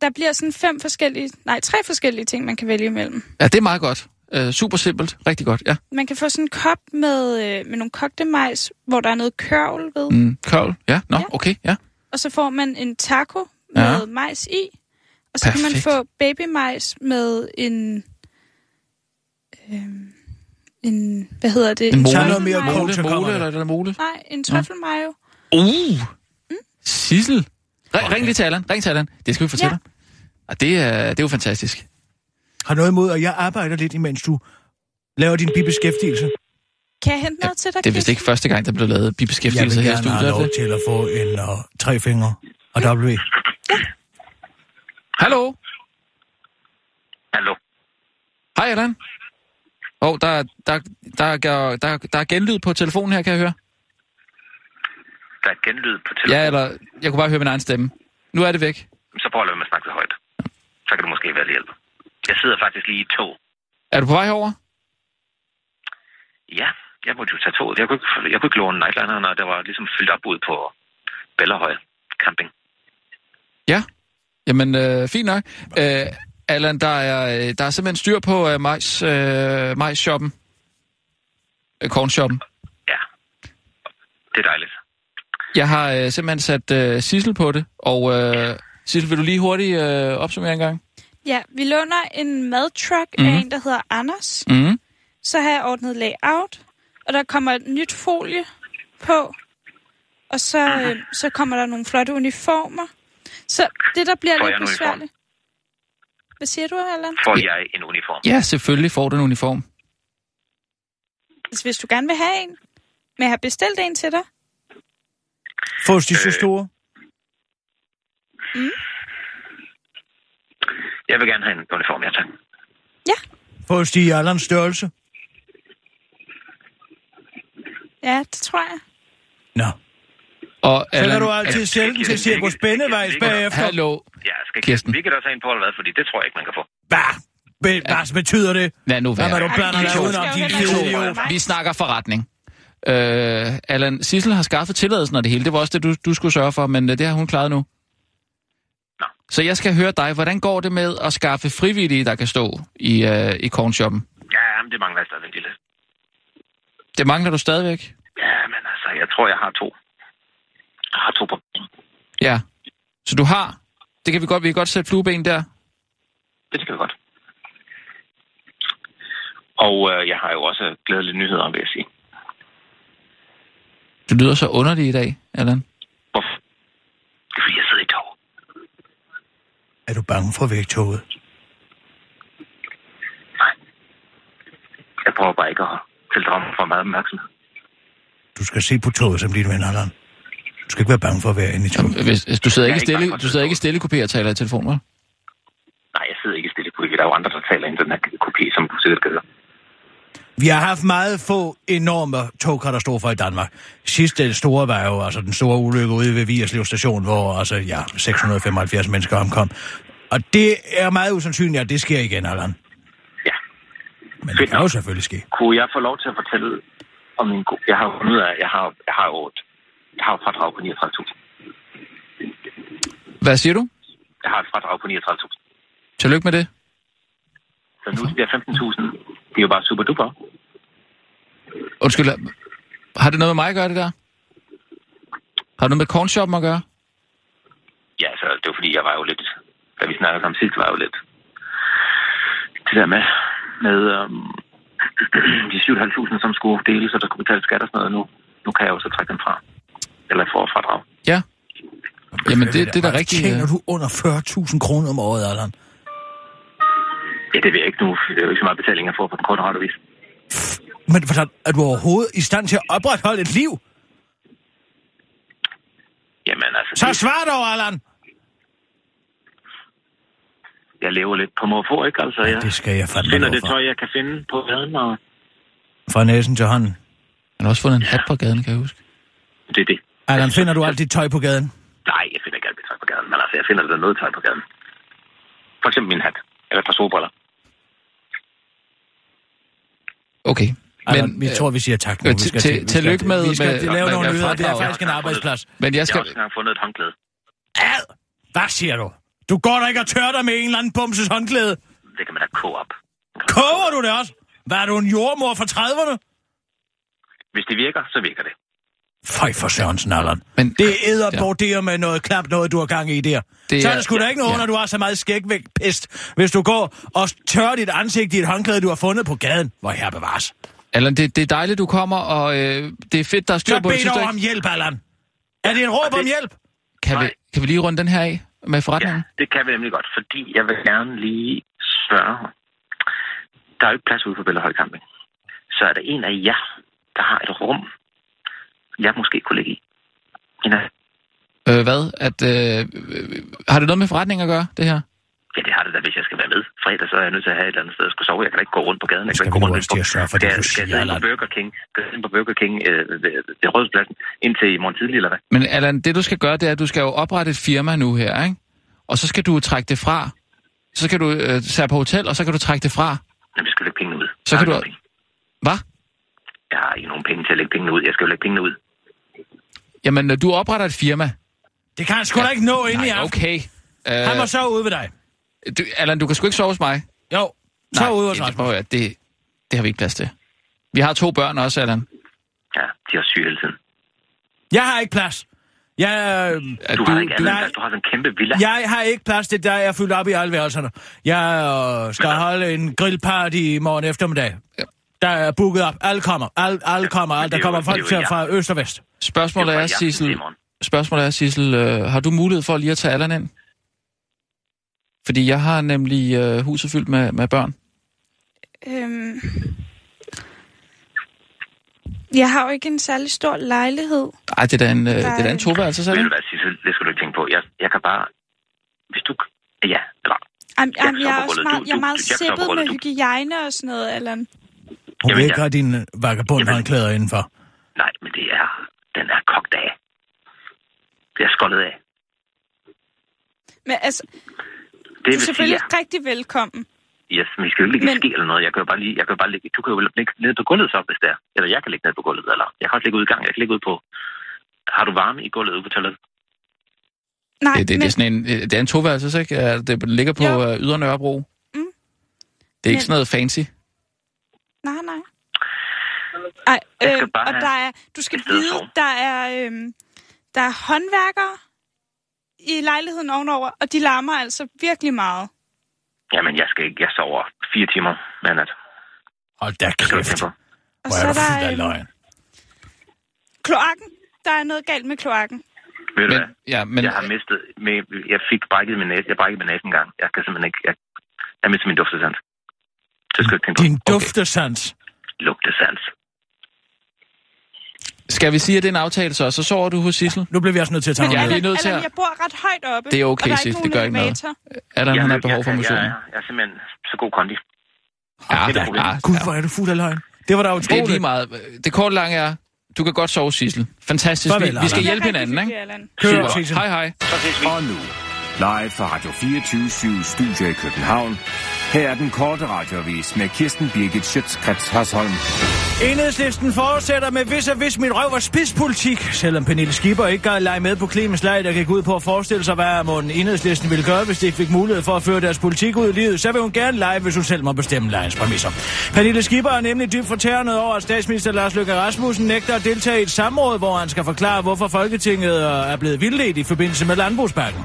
[SPEAKER 7] Der bliver sådan fem forskellige... Nej, tre forskellige ting, man kan vælge imellem.
[SPEAKER 4] Ja, det er meget godt. Øh, super simpelt. Rigtig godt, ja.
[SPEAKER 7] Man kan få sådan en kop med, øh, med nogle kogte majs, hvor der er noget kørvel ved. Mm.
[SPEAKER 4] Mm, kørl. Ja, nå,
[SPEAKER 7] Ja.
[SPEAKER 4] okay, ja.
[SPEAKER 7] Og så får man en taco
[SPEAKER 4] Ja.
[SPEAKER 7] med majs i. Og så Perfekt. kan man
[SPEAKER 4] Perfekt.
[SPEAKER 7] få babymajs med en... Øh, en hvad hedder det?
[SPEAKER 4] En mole.
[SPEAKER 5] Tag noget mere
[SPEAKER 7] trøffelmayo.
[SPEAKER 5] kål,
[SPEAKER 4] Mole,
[SPEAKER 5] så kommer
[SPEAKER 4] mole,
[SPEAKER 5] der.
[SPEAKER 4] eller der mole.
[SPEAKER 7] Nej, en trøffelmayo. Mm.
[SPEAKER 4] Uh! Sissel! Ring, ring lige til Allan. Ring til Allan. Det skal vi fortælle
[SPEAKER 7] Ja.
[SPEAKER 4] ja. Og det er, det er jo fantastisk.
[SPEAKER 5] Har noget imod, at jeg arbejder lidt, imens du laver din bibeskæftigelse.
[SPEAKER 7] Kan jeg hente noget til dig,
[SPEAKER 4] Det er vist
[SPEAKER 7] Kirsten?
[SPEAKER 4] ikke første gang, der bliver lavet
[SPEAKER 5] Jeg vil
[SPEAKER 4] bibeskæftigelse her i
[SPEAKER 5] gerne
[SPEAKER 4] studiet.
[SPEAKER 5] have
[SPEAKER 4] er
[SPEAKER 5] lov
[SPEAKER 4] det?
[SPEAKER 5] til at få en og tre fingre og W.
[SPEAKER 4] Hallo?
[SPEAKER 8] Hallo.
[SPEAKER 4] Hej, Allan. Åh, oh, der, der, der, der, der, der er genlyd på telefonen her, kan jeg høre.
[SPEAKER 8] Der er genlyd på telefonen.
[SPEAKER 4] Ja, eller jeg kunne bare høre min egen stemme. Nu er det væk.
[SPEAKER 8] Så prøv at lade være med at snakke så højt. Så kan du måske være til hjælp. Jeg sidder faktisk lige i et tog.
[SPEAKER 4] Er du på vej herover?
[SPEAKER 8] Ja, jeg måtte jo tage toget. Jeg kunne ikke, jeg kunne ikke låne Nightliner, når der var ligesom fyldt op ud på Bellerhøj Camping.
[SPEAKER 4] Ja. Jamen, øh, fint nok. Øh, Allan, der er, øh, der er simpelthen styr på øh, majs, øh, majs-shoppen. Øh, Kornshoppen.
[SPEAKER 8] Ja, det er dejligt.
[SPEAKER 4] Jeg har øh, simpelthen sat øh, Sissel på det, og øh, Sissel, vil du lige hurtigt øh, opsummere en gang?
[SPEAKER 7] Ja, vi låner en madtruck
[SPEAKER 4] Mhm.
[SPEAKER 7] mm. af en, der hedder Anders.
[SPEAKER 4] Mm.
[SPEAKER 5] Mm-hmm.
[SPEAKER 7] Så har jeg ordnet layout, og der kommer et nyt folie på. Og
[SPEAKER 8] Mhm.
[SPEAKER 7] så, øh, så kommer der nogle flotte uniformer. Så det, der bliver
[SPEAKER 8] Får jeg en
[SPEAKER 7] lidt
[SPEAKER 8] uniform?
[SPEAKER 7] besværligt... Hvad siger du, Allan?
[SPEAKER 8] Får jeg en uniform?
[SPEAKER 4] Ja, selvfølgelig får du en uniform.
[SPEAKER 7] Altså, hvis du gerne vil have en. Men jeg har bestilt en til dig.
[SPEAKER 5] Fås de
[SPEAKER 4] Øh.
[SPEAKER 5] så store?
[SPEAKER 8] Jeg vil gerne have en uniform, ja tak.
[SPEAKER 5] Fås de i Allans størrelse?
[SPEAKER 7] Ja, det tror jeg.
[SPEAKER 5] Nå.
[SPEAKER 4] Og
[SPEAKER 5] Så kan
[SPEAKER 4] Allan,
[SPEAKER 5] du altid sælge den til Cirko Spændevejs bagefter.
[SPEAKER 4] hallo.
[SPEAKER 8] Ja, skal
[SPEAKER 4] Kirsten.
[SPEAKER 8] Vi kan da også have en på eller hvad, fordi det tror jeg ikke, man kan få.
[SPEAKER 5] Hvad? Be- Hvad betyder det?
[SPEAKER 4] Lad nu
[SPEAKER 5] Hvad er du
[SPEAKER 4] være.
[SPEAKER 5] blander
[SPEAKER 7] I
[SPEAKER 5] dig
[SPEAKER 7] to.
[SPEAKER 5] udenom, din
[SPEAKER 7] Skal jo heller
[SPEAKER 5] fede
[SPEAKER 7] ikke
[SPEAKER 5] idiot?
[SPEAKER 7] være
[SPEAKER 4] Vi snakker forretning. Øh, Allan, Sissel har skaffet tilladelsen og det hele. Det var også det, du, du skulle sørge for, men øh, det har hun klaret nu.
[SPEAKER 8] Nå.
[SPEAKER 4] Så jeg skal høre dig, hvordan går det med at skaffe frivillige, der kan stå i, øh, i kornshoppen?
[SPEAKER 8] Ja, men det mangler altså jeg stadigvæk lidt.
[SPEAKER 4] Det mangler du stadigvæk?
[SPEAKER 8] Ja, men altså, jeg tror, jeg har to. Jeg har to på.
[SPEAKER 4] Ja. Så du har? Det kan vi godt, vi kan godt sætte flueben der.
[SPEAKER 8] Det skal vi godt. Og øh, jeg har jo også glædelige nyheder, vil jeg sige.
[SPEAKER 4] Du lyder så underlig i dag, Allan.
[SPEAKER 8] Hvorfor? Det er fordi, jeg sidder i tog.
[SPEAKER 5] Er du bange for vægtoget?
[SPEAKER 8] Nej. Jeg prøver bare ikke at tildrage mig for meget opmærksomhed.
[SPEAKER 5] Du skal se på toget som din ven, Allan. Du skal ikke være bange for at være inde i toget.
[SPEAKER 4] Hvis, hvis du sidder
[SPEAKER 8] Jeg er
[SPEAKER 4] ikke
[SPEAKER 8] ikke bange
[SPEAKER 4] stille,
[SPEAKER 8] for at
[SPEAKER 4] du sidder
[SPEAKER 8] sidde
[SPEAKER 4] ikke
[SPEAKER 8] på.
[SPEAKER 4] stille i kopier og taler i telefon, hva'?
[SPEAKER 8] Nej, jeg sidder ikke i stille kubi. Der er jo andre, der taler ind i den her kopi, som du sikkert kan høre.
[SPEAKER 5] Vi har haft meget få enorme togkatastrofer i Danmark. Sidste store var jo altså den store ulykke ude ved Vierslev station, hvor altså, ja, 675 mennesker omkom. Og det er meget usandsynligt, at det sker igen, Allan.
[SPEAKER 8] Ja.
[SPEAKER 5] Men det kan jo selvfølgelig ske.
[SPEAKER 8] Kunne jeg få lov til at fortælle om min god... Jeg har jo fundet ud af, at jeg har, jeg har jo et, jeg har et fradrag på 39.000.
[SPEAKER 4] Hvad siger du?
[SPEAKER 8] Jeg har et fradrag på 39.000.
[SPEAKER 4] Tillykke med det.
[SPEAKER 8] Så nu de der 15.000, det er jo bare super duper.
[SPEAKER 4] Undskyld, har det noget med mig at gøre, det der? Har det noget med kornshoppen at gøre?
[SPEAKER 8] Ja, altså, det var fordi, jeg var jo lidt... Da vi snakkede om sidst, var jeg jo lidt... Det der med, med øhm, de 7.500, som skulle deles, og der skulle betales skat og sådan noget. Nu, nu kan jeg jo så trække dem fra. Eller få et fradrag.
[SPEAKER 4] Ja. Jamen, det, det er da
[SPEAKER 5] Hvad
[SPEAKER 4] rigtigt.
[SPEAKER 5] Tjener
[SPEAKER 4] øh,
[SPEAKER 5] du under 40.000 kroner om året, Allan?
[SPEAKER 8] Ja, det vil jeg ikke nu. Det er jo ikke så meget betaling, jeg får på den korte rettevis.
[SPEAKER 5] Men hvordan er du overhovedet i stand til at opretholde et liv?
[SPEAKER 8] Jamen, altså...
[SPEAKER 5] Så
[SPEAKER 8] det-
[SPEAKER 5] svar dog, Allan!
[SPEAKER 8] jeg lever lidt på må få, ikke? Altså, jeg
[SPEAKER 5] Det skal jeg fandme
[SPEAKER 8] finder
[SPEAKER 5] lov
[SPEAKER 8] det
[SPEAKER 5] for.
[SPEAKER 8] tøj, jeg kan finde på gaden, og
[SPEAKER 5] Fra næsen til hånden.
[SPEAKER 4] Han har også fundet en hat på gaden, kan jeg huske.
[SPEAKER 8] det er det.
[SPEAKER 5] Allan, finder du alt dit tøj på gaden?
[SPEAKER 8] Nej, jeg finder ikke alt mit tøj på gaden, men altså, jeg finder da noget tøj på gaden. For eksempel min hat, eller et par solbriller.
[SPEAKER 4] Okay.
[SPEAKER 5] Allan,
[SPEAKER 4] Men,
[SPEAKER 5] vi
[SPEAKER 4] øh,
[SPEAKER 5] tror, vi siger tak nu.
[SPEAKER 4] øh,
[SPEAKER 5] Vi skal
[SPEAKER 4] til-
[SPEAKER 5] vi skal
[SPEAKER 4] tillykke med-
[SPEAKER 5] Vi skal
[SPEAKER 4] med-
[SPEAKER 5] lave
[SPEAKER 4] med-
[SPEAKER 5] nogle
[SPEAKER 4] med
[SPEAKER 5] nyheder. Det er
[SPEAKER 4] fradraget.
[SPEAKER 5] faktisk en arbejdsplads.
[SPEAKER 4] men jeg
[SPEAKER 8] Jeg har
[SPEAKER 4] skal...
[SPEAKER 8] også engang fundet et håndklæde.
[SPEAKER 5] Ad! Hvad siger du? Du går da ikke og tørrer dig med en eller anden bumses håndklæde.
[SPEAKER 8] Det kan man da koge op.
[SPEAKER 5] Koger du det også? Var du en jordmor fra 30'erne?
[SPEAKER 8] Hvis det virker, så virker det.
[SPEAKER 5] Fej for Sørensen, Allan.
[SPEAKER 4] Men-
[SPEAKER 5] det æder
[SPEAKER 4] Ja.
[SPEAKER 5] ja. med noget klap, noget du har gang i der. Det
[SPEAKER 4] Det
[SPEAKER 5] så er
[SPEAKER 4] er-
[SPEAKER 5] det sgu da ikke noget,
[SPEAKER 4] Ja.
[SPEAKER 5] når du har så meget skægvægt pest, hvis du går og tørrer dit ansigt i et håndklæde, du har fundet på gaden. Hvor her bevares.
[SPEAKER 4] Allan, det, det er dejligt, du kommer, og øh, det er fedt, der er styr
[SPEAKER 5] Så
[SPEAKER 4] på det.
[SPEAKER 5] bed
[SPEAKER 4] Synes du
[SPEAKER 5] dog
[SPEAKER 4] ikke?
[SPEAKER 5] om hjælp, Allan. Er det en råb om hjælp?
[SPEAKER 4] Kan, vi,
[SPEAKER 8] Nej.
[SPEAKER 4] kan vi lige runde den her af med forretningen?
[SPEAKER 8] Ja, det kan vi nemlig godt, fordi jeg vil gerne lige spørge. Der er jo ikke plads ude på Bellahøj Camping. Så er der en af jer, der har et rum, jeg måske kunne ligge i. En af...
[SPEAKER 4] Øh, hvad? At, øh, øh, har det noget med forretning at gøre, det her?
[SPEAKER 8] Ja, det har det da, hvis jeg skal være med. Fredag, så er jeg nødt til at have et eller andet sted at skulle sove. Jeg kan da ikke gå rundt på gaden. Jeg
[SPEAKER 5] Skal
[SPEAKER 8] kan ikke
[SPEAKER 5] vi
[SPEAKER 8] gå
[SPEAKER 5] nu
[SPEAKER 8] rundt
[SPEAKER 5] også til at sørge for det,
[SPEAKER 8] Skal-
[SPEAKER 5] du
[SPEAKER 8] Skal jeg
[SPEAKER 5] siger,
[SPEAKER 8] sidde inde på
[SPEAKER 5] eller-
[SPEAKER 8] Burger King, skal jeg sidde inde på Burger King øh, ved, ved Rådhuspladsen indtil i morgen tidlig, eller hvad?
[SPEAKER 4] Men Allan, det du skal gøre, det er, at du skal jo oprette et firma nu her, ikke? Og så skal du trække det fra. Så kan du øh, tage på hotel, og så kan du trække det fra.
[SPEAKER 8] Jamen, vi skal lægge pengene ud.
[SPEAKER 4] Så
[SPEAKER 8] Jeg har
[SPEAKER 4] kan du-
[SPEAKER 8] ikke nogen penge.
[SPEAKER 4] Hvad?
[SPEAKER 8] Jeg har ikke nogen penge til at lægge pengene ud. Jeg skal jo lægge pengene ud.
[SPEAKER 4] Jamen, øh, du opretter et firma.
[SPEAKER 5] Det kan han sgu da ikke nå ind i
[SPEAKER 4] Nej,
[SPEAKER 5] aften.
[SPEAKER 4] okay. Øh,
[SPEAKER 5] Han var så ude ved dig.
[SPEAKER 4] du, Allan, du kan sgu ikke sove hos mig.
[SPEAKER 5] Jo, så
[SPEAKER 4] Nej,
[SPEAKER 5] ude hos
[SPEAKER 4] det,
[SPEAKER 5] mig.
[SPEAKER 4] det, prøv at høre, det, det har vi ikke plads til. Vi har to børn også, Allan.
[SPEAKER 8] Ja, de er også syge hele tiden.
[SPEAKER 5] Jeg har ikke plads. Jeg, øh,
[SPEAKER 4] At
[SPEAKER 8] Du, du har ikke
[SPEAKER 5] du-
[SPEAKER 8] andet
[SPEAKER 5] nej.
[SPEAKER 8] plads. Du har sådan en kæmpe villa.
[SPEAKER 5] jeg har ikke plads til dig. Jeg er fyldt op i alle værelserne. Jeg øh, skal holde en grillparty i morgen eftermiddag. Der er booket op. Alle kommer. Alle, alle kommer. Alle,
[SPEAKER 8] det
[SPEAKER 5] der
[SPEAKER 8] er jo-
[SPEAKER 5] kommer
[SPEAKER 8] det er
[SPEAKER 5] folk
[SPEAKER 8] jo
[SPEAKER 5] til
[SPEAKER 8] jer.
[SPEAKER 5] fra øst og vest.
[SPEAKER 4] Spørgsmålet
[SPEAKER 8] Det er
[SPEAKER 4] er,
[SPEAKER 8] fra i aften til
[SPEAKER 4] Sissel,
[SPEAKER 8] i morgen.
[SPEAKER 4] spørgsmålet er, Sissel øh, har du mulighed for lige at tage Allan ind? Fordi jeg har nemlig øh, huset fyldt med, med børn.
[SPEAKER 7] Øhm, jeg har jo ikke en særlig stor lejlighed.
[SPEAKER 4] Ej, det er da en, øh, det er da
[SPEAKER 7] Nej.
[SPEAKER 4] en toværelse,
[SPEAKER 8] Ved
[SPEAKER 4] sådan.
[SPEAKER 8] du hvad, Sissel? Det skal du ikke tænke på. Jeg, jeg kan bare... Hvis du... Ja, eller...
[SPEAKER 7] Am,
[SPEAKER 8] Jeg
[SPEAKER 7] am, jeg, er
[SPEAKER 8] stopper
[SPEAKER 7] også
[SPEAKER 8] rullet. Du-
[SPEAKER 7] meget, jeg er
[SPEAKER 8] du-
[SPEAKER 7] meget
[SPEAKER 8] jeg stopper
[SPEAKER 7] sippet
[SPEAKER 8] rullet.
[SPEAKER 7] med
[SPEAKER 8] Du-
[SPEAKER 7] hygiejne og sådan noget, Allan.
[SPEAKER 5] Hun øh,
[SPEAKER 8] Jamen,
[SPEAKER 5] vil
[SPEAKER 8] ja.
[SPEAKER 5] ikke gøre dine vagabondhåndklæder indenfor.
[SPEAKER 8] Nej, men det er... Den er kogt af. Det er skoldet af.
[SPEAKER 7] Men altså,
[SPEAKER 8] Det
[SPEAKER 7] du er
[SPEAKER 8] vil sige,
[SPEAKER 7] selvfølgelig
[SPEAKER 8] ja.
[SPEAKER 7] rigtig velkommen.
[SPEAKER 8] Yes, men vi skal jo ikke ligge i
[SPEAKER 7] Men-
[SPEAKER 8] ske eller noget. Jeg kan jo bare lige... Jeg kan jo bare ligge, du kan jo ligge ned på gulvet så, hvis det er. Eller jeg kan ligge ned på gulvet, eller... Jeg kan også ligge ude i gang. Jeg kan ligge ude på... Har du varme i gulvet ude på toilettet?
[SPEAKER 7] Nej,
[SPEAKER 4] Det, det, det,
[SPEAKER 7] men,
[SPEAKER 4] er sådan en, øh, det er en toværelse, ikke? Ja, Det ligger på
[SPEAKER 7] Jo.
[SPEAKER 4] øh, Ydre Nørrebro. Mm. Det er ikke
[SPEAKER 7] Men-
[SPEAKER 4] sådan noget fancy.
[SPEAKER 7] nej, nej. Ej,
[SPEAKER 8] Jeg skal
[SPEAKER 7] øh,
[SPEAKER 8] bare
[SPEAKER 7] og
[SPEAKER 8] have
[SPEAKER 7] der er, du skal
[SPEAKER 8] et sted at
[SPEAKER 7] vide,
[SPEAKER 8] sove.
[SPEAKER 7] der er, øhm, der er håndværkere i lejligheden ovenover, og de larmer altså virkelig meget.
[SPEAKER 8] Jamen, jeg skal ikke. Jeg sover fire timer hver nat.
[SPEAKER 5] Hold da
[SPEAKER 8] Det skal du ikke
[SPEAKER 5] kæft.
[SPEAKER 8] tænke på.
[SPEAKER 7] Og
[SPEAKER 5] Hvor
[SPEAKER 7] så
[SPEAKER 5] er
[SPEAKER 7] er
[SPEAKER 5] du fuld
[SPEAKER 7] der
[SPEAKER 5] af
[SPEAKER 7] øhm,
[SPEAKER 5] løgn.
[SPEAKER 7] kloakken. Der er noget galt med kloakken.
[SPEAKER 8] Ved du
[SPEAKER 4] Men,
[SPEAKER 8] hvad?
[SPEAKER 4] ja, men,
[SPEAKER 8] Jeg har mistet... med- Jeg fik brækket min næse. Jeg brækkede min næse en gang. Jeg kan simpelthen ikke... Jeg, jeg mistede min duftesans. Det skal du ikke tænke på.
[SPEAKER 5] Din duftesans.
[SPEAKER 8] Lugtesans.
[SPEAKER 4] skal vi sige, at det er en aftale så? Så sover du hos Sissel?
[SPEAKER 5] Nu bliver vi også nødt til at tage
[SPEAKER 4] Men
[SPEAKER 5] nogle
[SPEAKER 4] jeg er
[SPEAKER 5] med.
[SPEAKER 4] lige nødt til
[SPEAKER 7] Allan,
[SPEAKER 4] at-
[SPEAKER 7] jeg bor ret højt oppe.
[SPEAKER 4] Det er okay,
[SPEAKER 7] og der er
[SPEAKER 4] Sif,
[SPEAKER 7] ikke
[SPEAKER 4] det
[SPEAKER 7] nogen
[SPEAKER 4] gør ikke noget.
[SPEAKER 7] elevator.
[SPEAKER 4] Allan,
[SPEAKER 8] Jeg
[SPEAKER 4] han har
[SPEAKER 8] løb-
[SPEAKER 4] behov for
[SPEAKER 8] jeg, jeg,
[SPEAKER 4] motion.
[SPEAKER 8] jeg, jeg, er simpelthen så god kondi.
[SPEAKER 4] Ja,
[SPEAKER 8] det er
[SPEAKER 4] ja,
[SPEAKER 8] problemet.
[SPEAKER 4] ja.
[SPEAKER 5] Gud, hvor er du fuld af løgn. Det var da
[SPEAKER 4] Det er lige
[SPEAKER 5] utroligt.
[SPEAKER 4] meget. Det korte lange er, du kan godt sove, Sissel. Fantastisk.
[SPEAKER 5] Farvel,
[SPEAKER 4] Vi, vi skal
[SPEAKER 5] Allan.
[SPEAKER 4] hjælpe
[SPEAKER 7] Det er rigtig
[SPEAKER 4] hinanden, ikke?
[SPEAKER 7] hyggeligt, Allan.
[SPEAKER 5] Kør,
[SPEAKER 4] Super.
[SPEAKER 5] Sissel.
[SPEAKER 4] Hej, hej.
[SPEAKER 6] Og nu, live fra Radio 24 Studio i København. Her er den korte radiovis med Kirsten Birgit Schøtzgrads Hasholm.
[SPEAKER 5] Enhedslisten fortsætter med hvis og hvis min røv var spidspolitik. Selvom Pernille Skipper ikke gad lege med på Clemens leg, der gik ud på at forestille sig, hvad Morten Enhedslisten ville gøre, hvis de ikke fik mulighed for at føre deres politik ud i livet, så vil hun gerne lege, hvis hun selv må bestemme legens præmisser. Pernille Skipper er nemlig dybt fortærnet over, at statsminister Lars Løkke Rasmussen nægter at deltage i et samråd, hvor han skal forklare, hvorfor Folketinget øh, er blevet vildledt i forbindelse med landbrugspakken.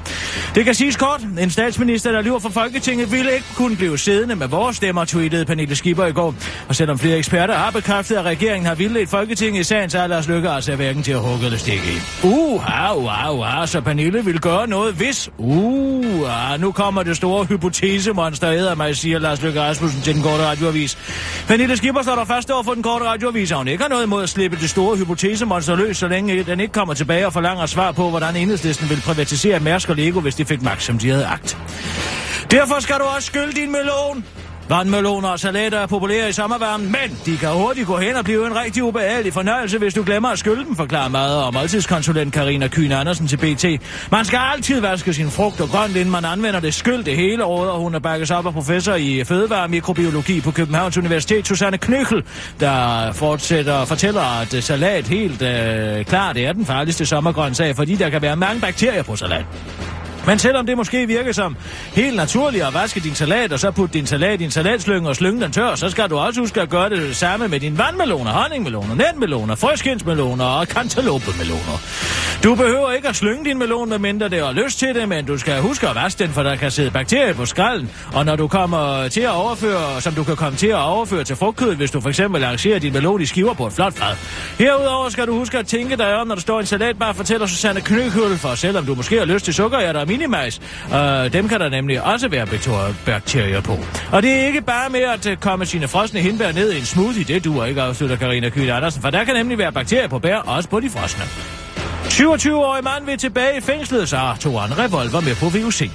[SPEAKER 5] Det kan siges kort. En statsminister, der lyver for Folketinget, ville ikke kunne blive siddende med vores stemmer, tweetede Pernille Skipper i går. Og selvom flere eksperter har bekræftet, at regeringen har vildledt Folketinget i sagen, så er Lars Løkke altså hverken til at hugge eller stikke i. Uha, uha, uha, så Pernille vil gøre noget, hvis... Uha, nu kommer det store hypotesemonster, æder mig, siger Lars Løkke Rasmussen til den korte radioavis. Pernille Skipper står der fast over for den korte radioavis, og hun ikke har noget imod at slippe det store hypotesemonster løs, så længe den ikke kommer tilbage og forlanger svar på, hvordan enhedslisten vil privatisere Mærsk og Lego, hvis de fik magt, som de havde agt. Derfor skal du også skylde din melon. Vandmeloner og salater er populære i sommervarmen, men de kan hurtigt gå hen og blive en rigtig ubehagelig fornøjelse, hvis du glemmer at skylde dem, forklarer mad- og måltidskonsulent Karina Kyhn Andersen til BT. Man skal altid vaske sin frugt og grønt, inden man anvender det skyld det hele året, og hun er bakkes op af professor i fødevaremikrobiologi på Københavns Universitet, Susanne Knøchel, der fortsætter og fortæller, at øh, salat helt øh, klart er den farligste sommergrøntsag, fordi der kan være mange bakterier på salat. Men selvom det måske virker som helt naturligt at vaske din salat, og så putte din salat i en salatslynge og slynge den tør, så skal du også huske at gøre det samme med dine vandmeloner, honningmeloner, netmeloner, frøskindsmeloner og cantaloupemeloner. Du behøver ikke at slynge din melon, medmindre det har lyst til det, men du skal huske at vaske den, for der kan sidde bakterier på skralden. Og når du kommer til at overføre, som du kan komme til at overføre til frugtkødet, hvis du for eksempel arrangerer din melon i skiver på et flot fad. Herudover skal du huske at tænke dig om, når du står i en salatbar, fortæller Susanne Knøkøl, for selvom du måske har lyst til sukkerhjerter og minimajs, øh, dem kan der nemlig også være betor- bakterier på. Og det er ikke bare med at øh, komme sine frosne hindbær ned i en smoothie, det duer ikke, afslutter Karina Kyl Andersen, for der kan nemlig være bakterier på bær, også på de frosne. 27-årig mand vil tilbage i fængslet, så tog han revolver med på VUC.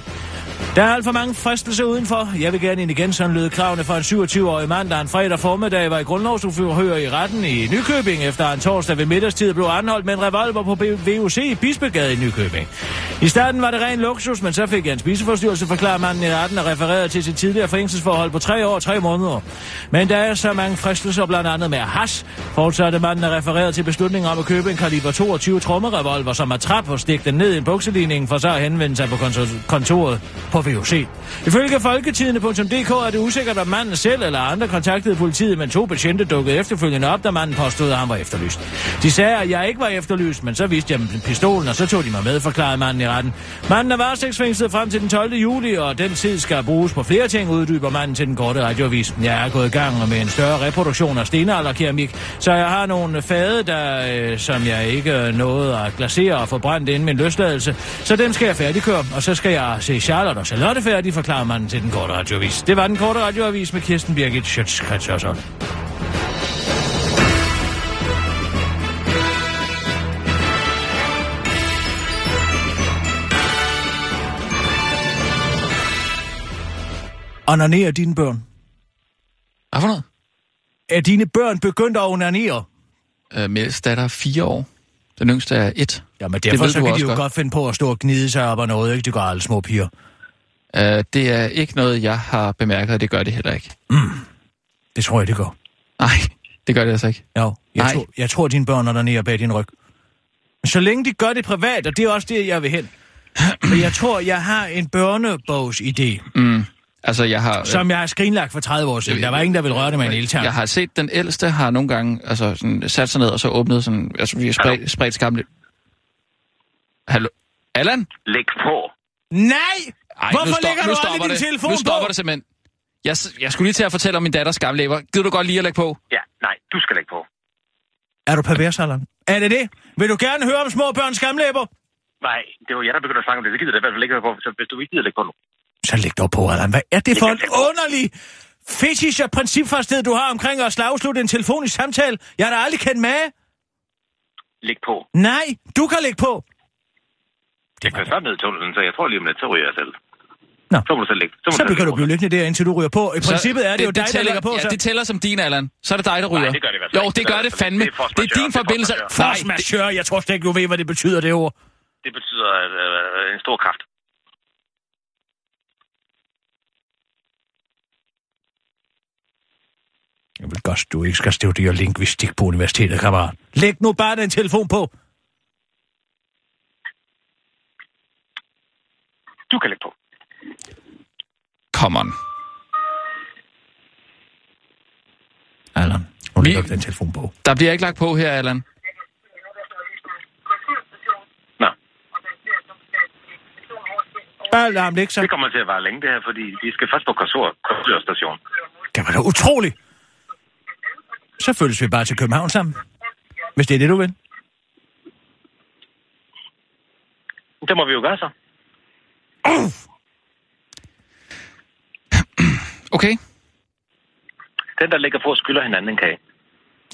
[SPEAKER 5] Der er alt for mange fristelser udenfor. Jeg vil gerne ind igen, sådan lød kravene fra en 27-årig mand, der en fredag formiddag var i grundlovsforhør i retten i Nykøbing, efter en torsdag ved middagstid blev anholdt med en revolver på B- VUC i Bispegade i Nykøbing. I starten var det ren luksus, men så fik jeg en spiseforstyrrelse, forklarer manden i retten og refererede til sit tidligere fængselsforhold på tre år og tre måneder. Men der er så mange fristelser, blandt andet med hash, fortsatte manden og refererede til beslutningen om at købe en kaliber 22 trommerevolver, som er trap og stikke den ned i en bukseligningen, for så at henvende sig på kontor- kontoret på VUC. Ifølge folketidene.dk er det usikkert, om manden selv eller andre kontaktede politiet, men to betjente dukkede efterfølgende op, da manden påstod, at han var efterlyst. De sagde, at jeg ikke var efterlyst, men så viste jeg dem pistolen, og så tog de mig med, forklarede manden i retten. Manden er varetægtsfængslet frem til den 12. juli, og den tid skal bruges på flere ting, uddyber manden til den korte radioavis. Jeg er gået i gang med en større reproduktion af stenalderkeramik, så jeg har nogle fade, der, øh, som jeg ikke øh, nåede at glasere og få brændt inden min løsladelse, så dem skal jeg færdiggøre, og så skal jeg se Charlotte og Charlotte færdig, forklarer manden til den korte radioavis. Det var den korte radioavis med Kirsten Birgit Schøtzgrads Hørsholm. Onanerer dine børn?
[SPEAKER 4] Hvad for noget?
[SPEAKER 5] Er dine børn begyndt at onanere?
[SPEAKER 4] Øh, Mels datter er fire år. Den yngste er et.
[SPEAKER 5] Jamen derfor
[SPEAKER 4] ved
[SPEAKER 5] så
[SPEAKER 4] du
[SPEAKER 5] kan de
[SPEAKER 4] også
[SPEAKER 5] jo godt.
[SPEAKER 4] godt.
[SPEAKER 5] godt finde på at stå og gnide sig op og noget, ikke? Det gør alle små piger.
[SPEAKER 4] Øh, det er ikke noget, jeg har bemærket, og det gør det heller ikke.
[SPEAKER 5] Det tror jeg, det gør.
[SPEAKER 4] Nej, det gør det altså ikke.
[SPEAKER 5] Jo, jeg,
[SPEAKER 4] Nej.
[SPEAKER 5] tror, jeg tror, dine børn er dernede og bag din ryg. Men så længe de gør det privat, og det er også det, jeg vil hen. For jeg tror, jeg har en børnebogsidé,
[SPEAKER 4] Altså, jeg har... øh,
[SPEAKER 5] som jeg har skrinlagt for 30 år siden. Der var ingen, der ville røre det med en eltang.
[SPEAKER 4] Jeg har set den ældste har nogle gange altså, sådan, sat sig ned og så åbnet sådan... Altså, vi har spredt, spredt skammen lidt. Hallo? Allan?
[SPEAKER 8] Læg på.
[SPEAKER 5] Nej!
[SPEAKER 4] Ej,
[SPEAKER 5] Hvorfor
[SPEAKER 4] nu stop,
[SPEAKER 5] lægger
[SPEAKER 4] nu
[SPEAKER 5] du aldrig
[SPEAKER 4] stopper
[SPEAKER 5] din
[SPEAKER 4] det.
[SPEAKER 5] telefon
[SPEAKER 4] Nu stopper
[SPEAKER 5] på?
[SPEAKER 4] det simpelthen. Jeg, s- jeg skulle lige til at fortælle om min datters skamlæber. Gider du godt lige at lægge på?
[SPEAKER 8] Ja, nej, du skal lægge på.
[SPEAKER 5] Er du pervers, Allan? Er det det? Vil du gerne høre om små børns skamlæber?
[SPEAKER 8] Nej, det var jeg, der begyndte at snakke om det. Det gider jeg i hvert fald ikke høre på, så hvis du ikke gider lægge på nu.
[SPEAKER 5] Så læg dig op på, Allan. Hvad er det for en underlig fetish og principfasthed, du har omkring at slagslutte en telefonisk samtale? Jeg har da aldrig kendt med.
[SPEAKER 8] Læg på.
[SPEAKER 5] Nej, du kan lægge på.
[SPEAKER 8] Jeg kører snart ned i tunnelen, så jeg tror lige om lidt, så ryger jeg selv.
[SPEAKER 5] Nå.
[SPEAKER 8] Så må du selv lægge. må
[SPEAKER 5] Så
[SPEAKER 8] selv
[SPEAKER 5] kan
[SPEAKER 8] lægge
[SPEAKER 5] du blive liggende der, indtil du ryger på. I princippet er det, jo dig, der
[SPEAKER 4] tæller,
[SPEAKER 5] lægger på.
[SPEAKER 4] Ja, det
[SPEAKER 5] så-
[SPEAKER 4] tæller som din, Allan. Så er det dig, der ryger.
[SPEAKER 8] det gør det i hvert fald
[SPEAKER 4] Jo,
[SPEAKER 8] ikke.
[SPEAKER 4] det gør det fandme.
[SPEAKER 8] Det er force
[SPEAKER 4] Det er din
[SPEAKER 8] majeure.
[SPEAKER 4] forbindelse.
[SPEAKER 8] Det er force
[SPEAKER 4] Nej,
[SPEAKER 5] Force majeure, jeg tror slet ikke, du ved, hvad det betyder, det ord.
[SPEAKER 8] Det betyder øh, en stor kraft.
[SPEAKER 5] Jeg vil godt, du ikke skal studere lingvistik på universitetet, kammerat. Læg nu bare den telefon på.
[SPEAKER 8] Du kan lægge på.
[SPEAKER 4] Come on.
[SPEAKER 5] Allan, nu
[SPEAKER 4] Vi-
[SPEAKER 5] lægger du den telefon på.
[SPEAKER 4] Der bliver ikke lagt på her, Allan.
[SPEAKER 8] Nå,
[SPEAKER 5] Bare lad ham lægge sig.
[SPEAKER 8] det kommer til at vare længe det her, fordi vi skal først på Korsør- Korsørstation.
[SPEAKER 5] Det var da utroligt. Så følges vi bare til København sammen. Hvis det er det, du vil.
[SPEAKER 8] Det må vi jo gøre så.
[SPEAKER 4] Okay.
[SPEAKER 8] Den, der ligger på, skylder hinanden en kage.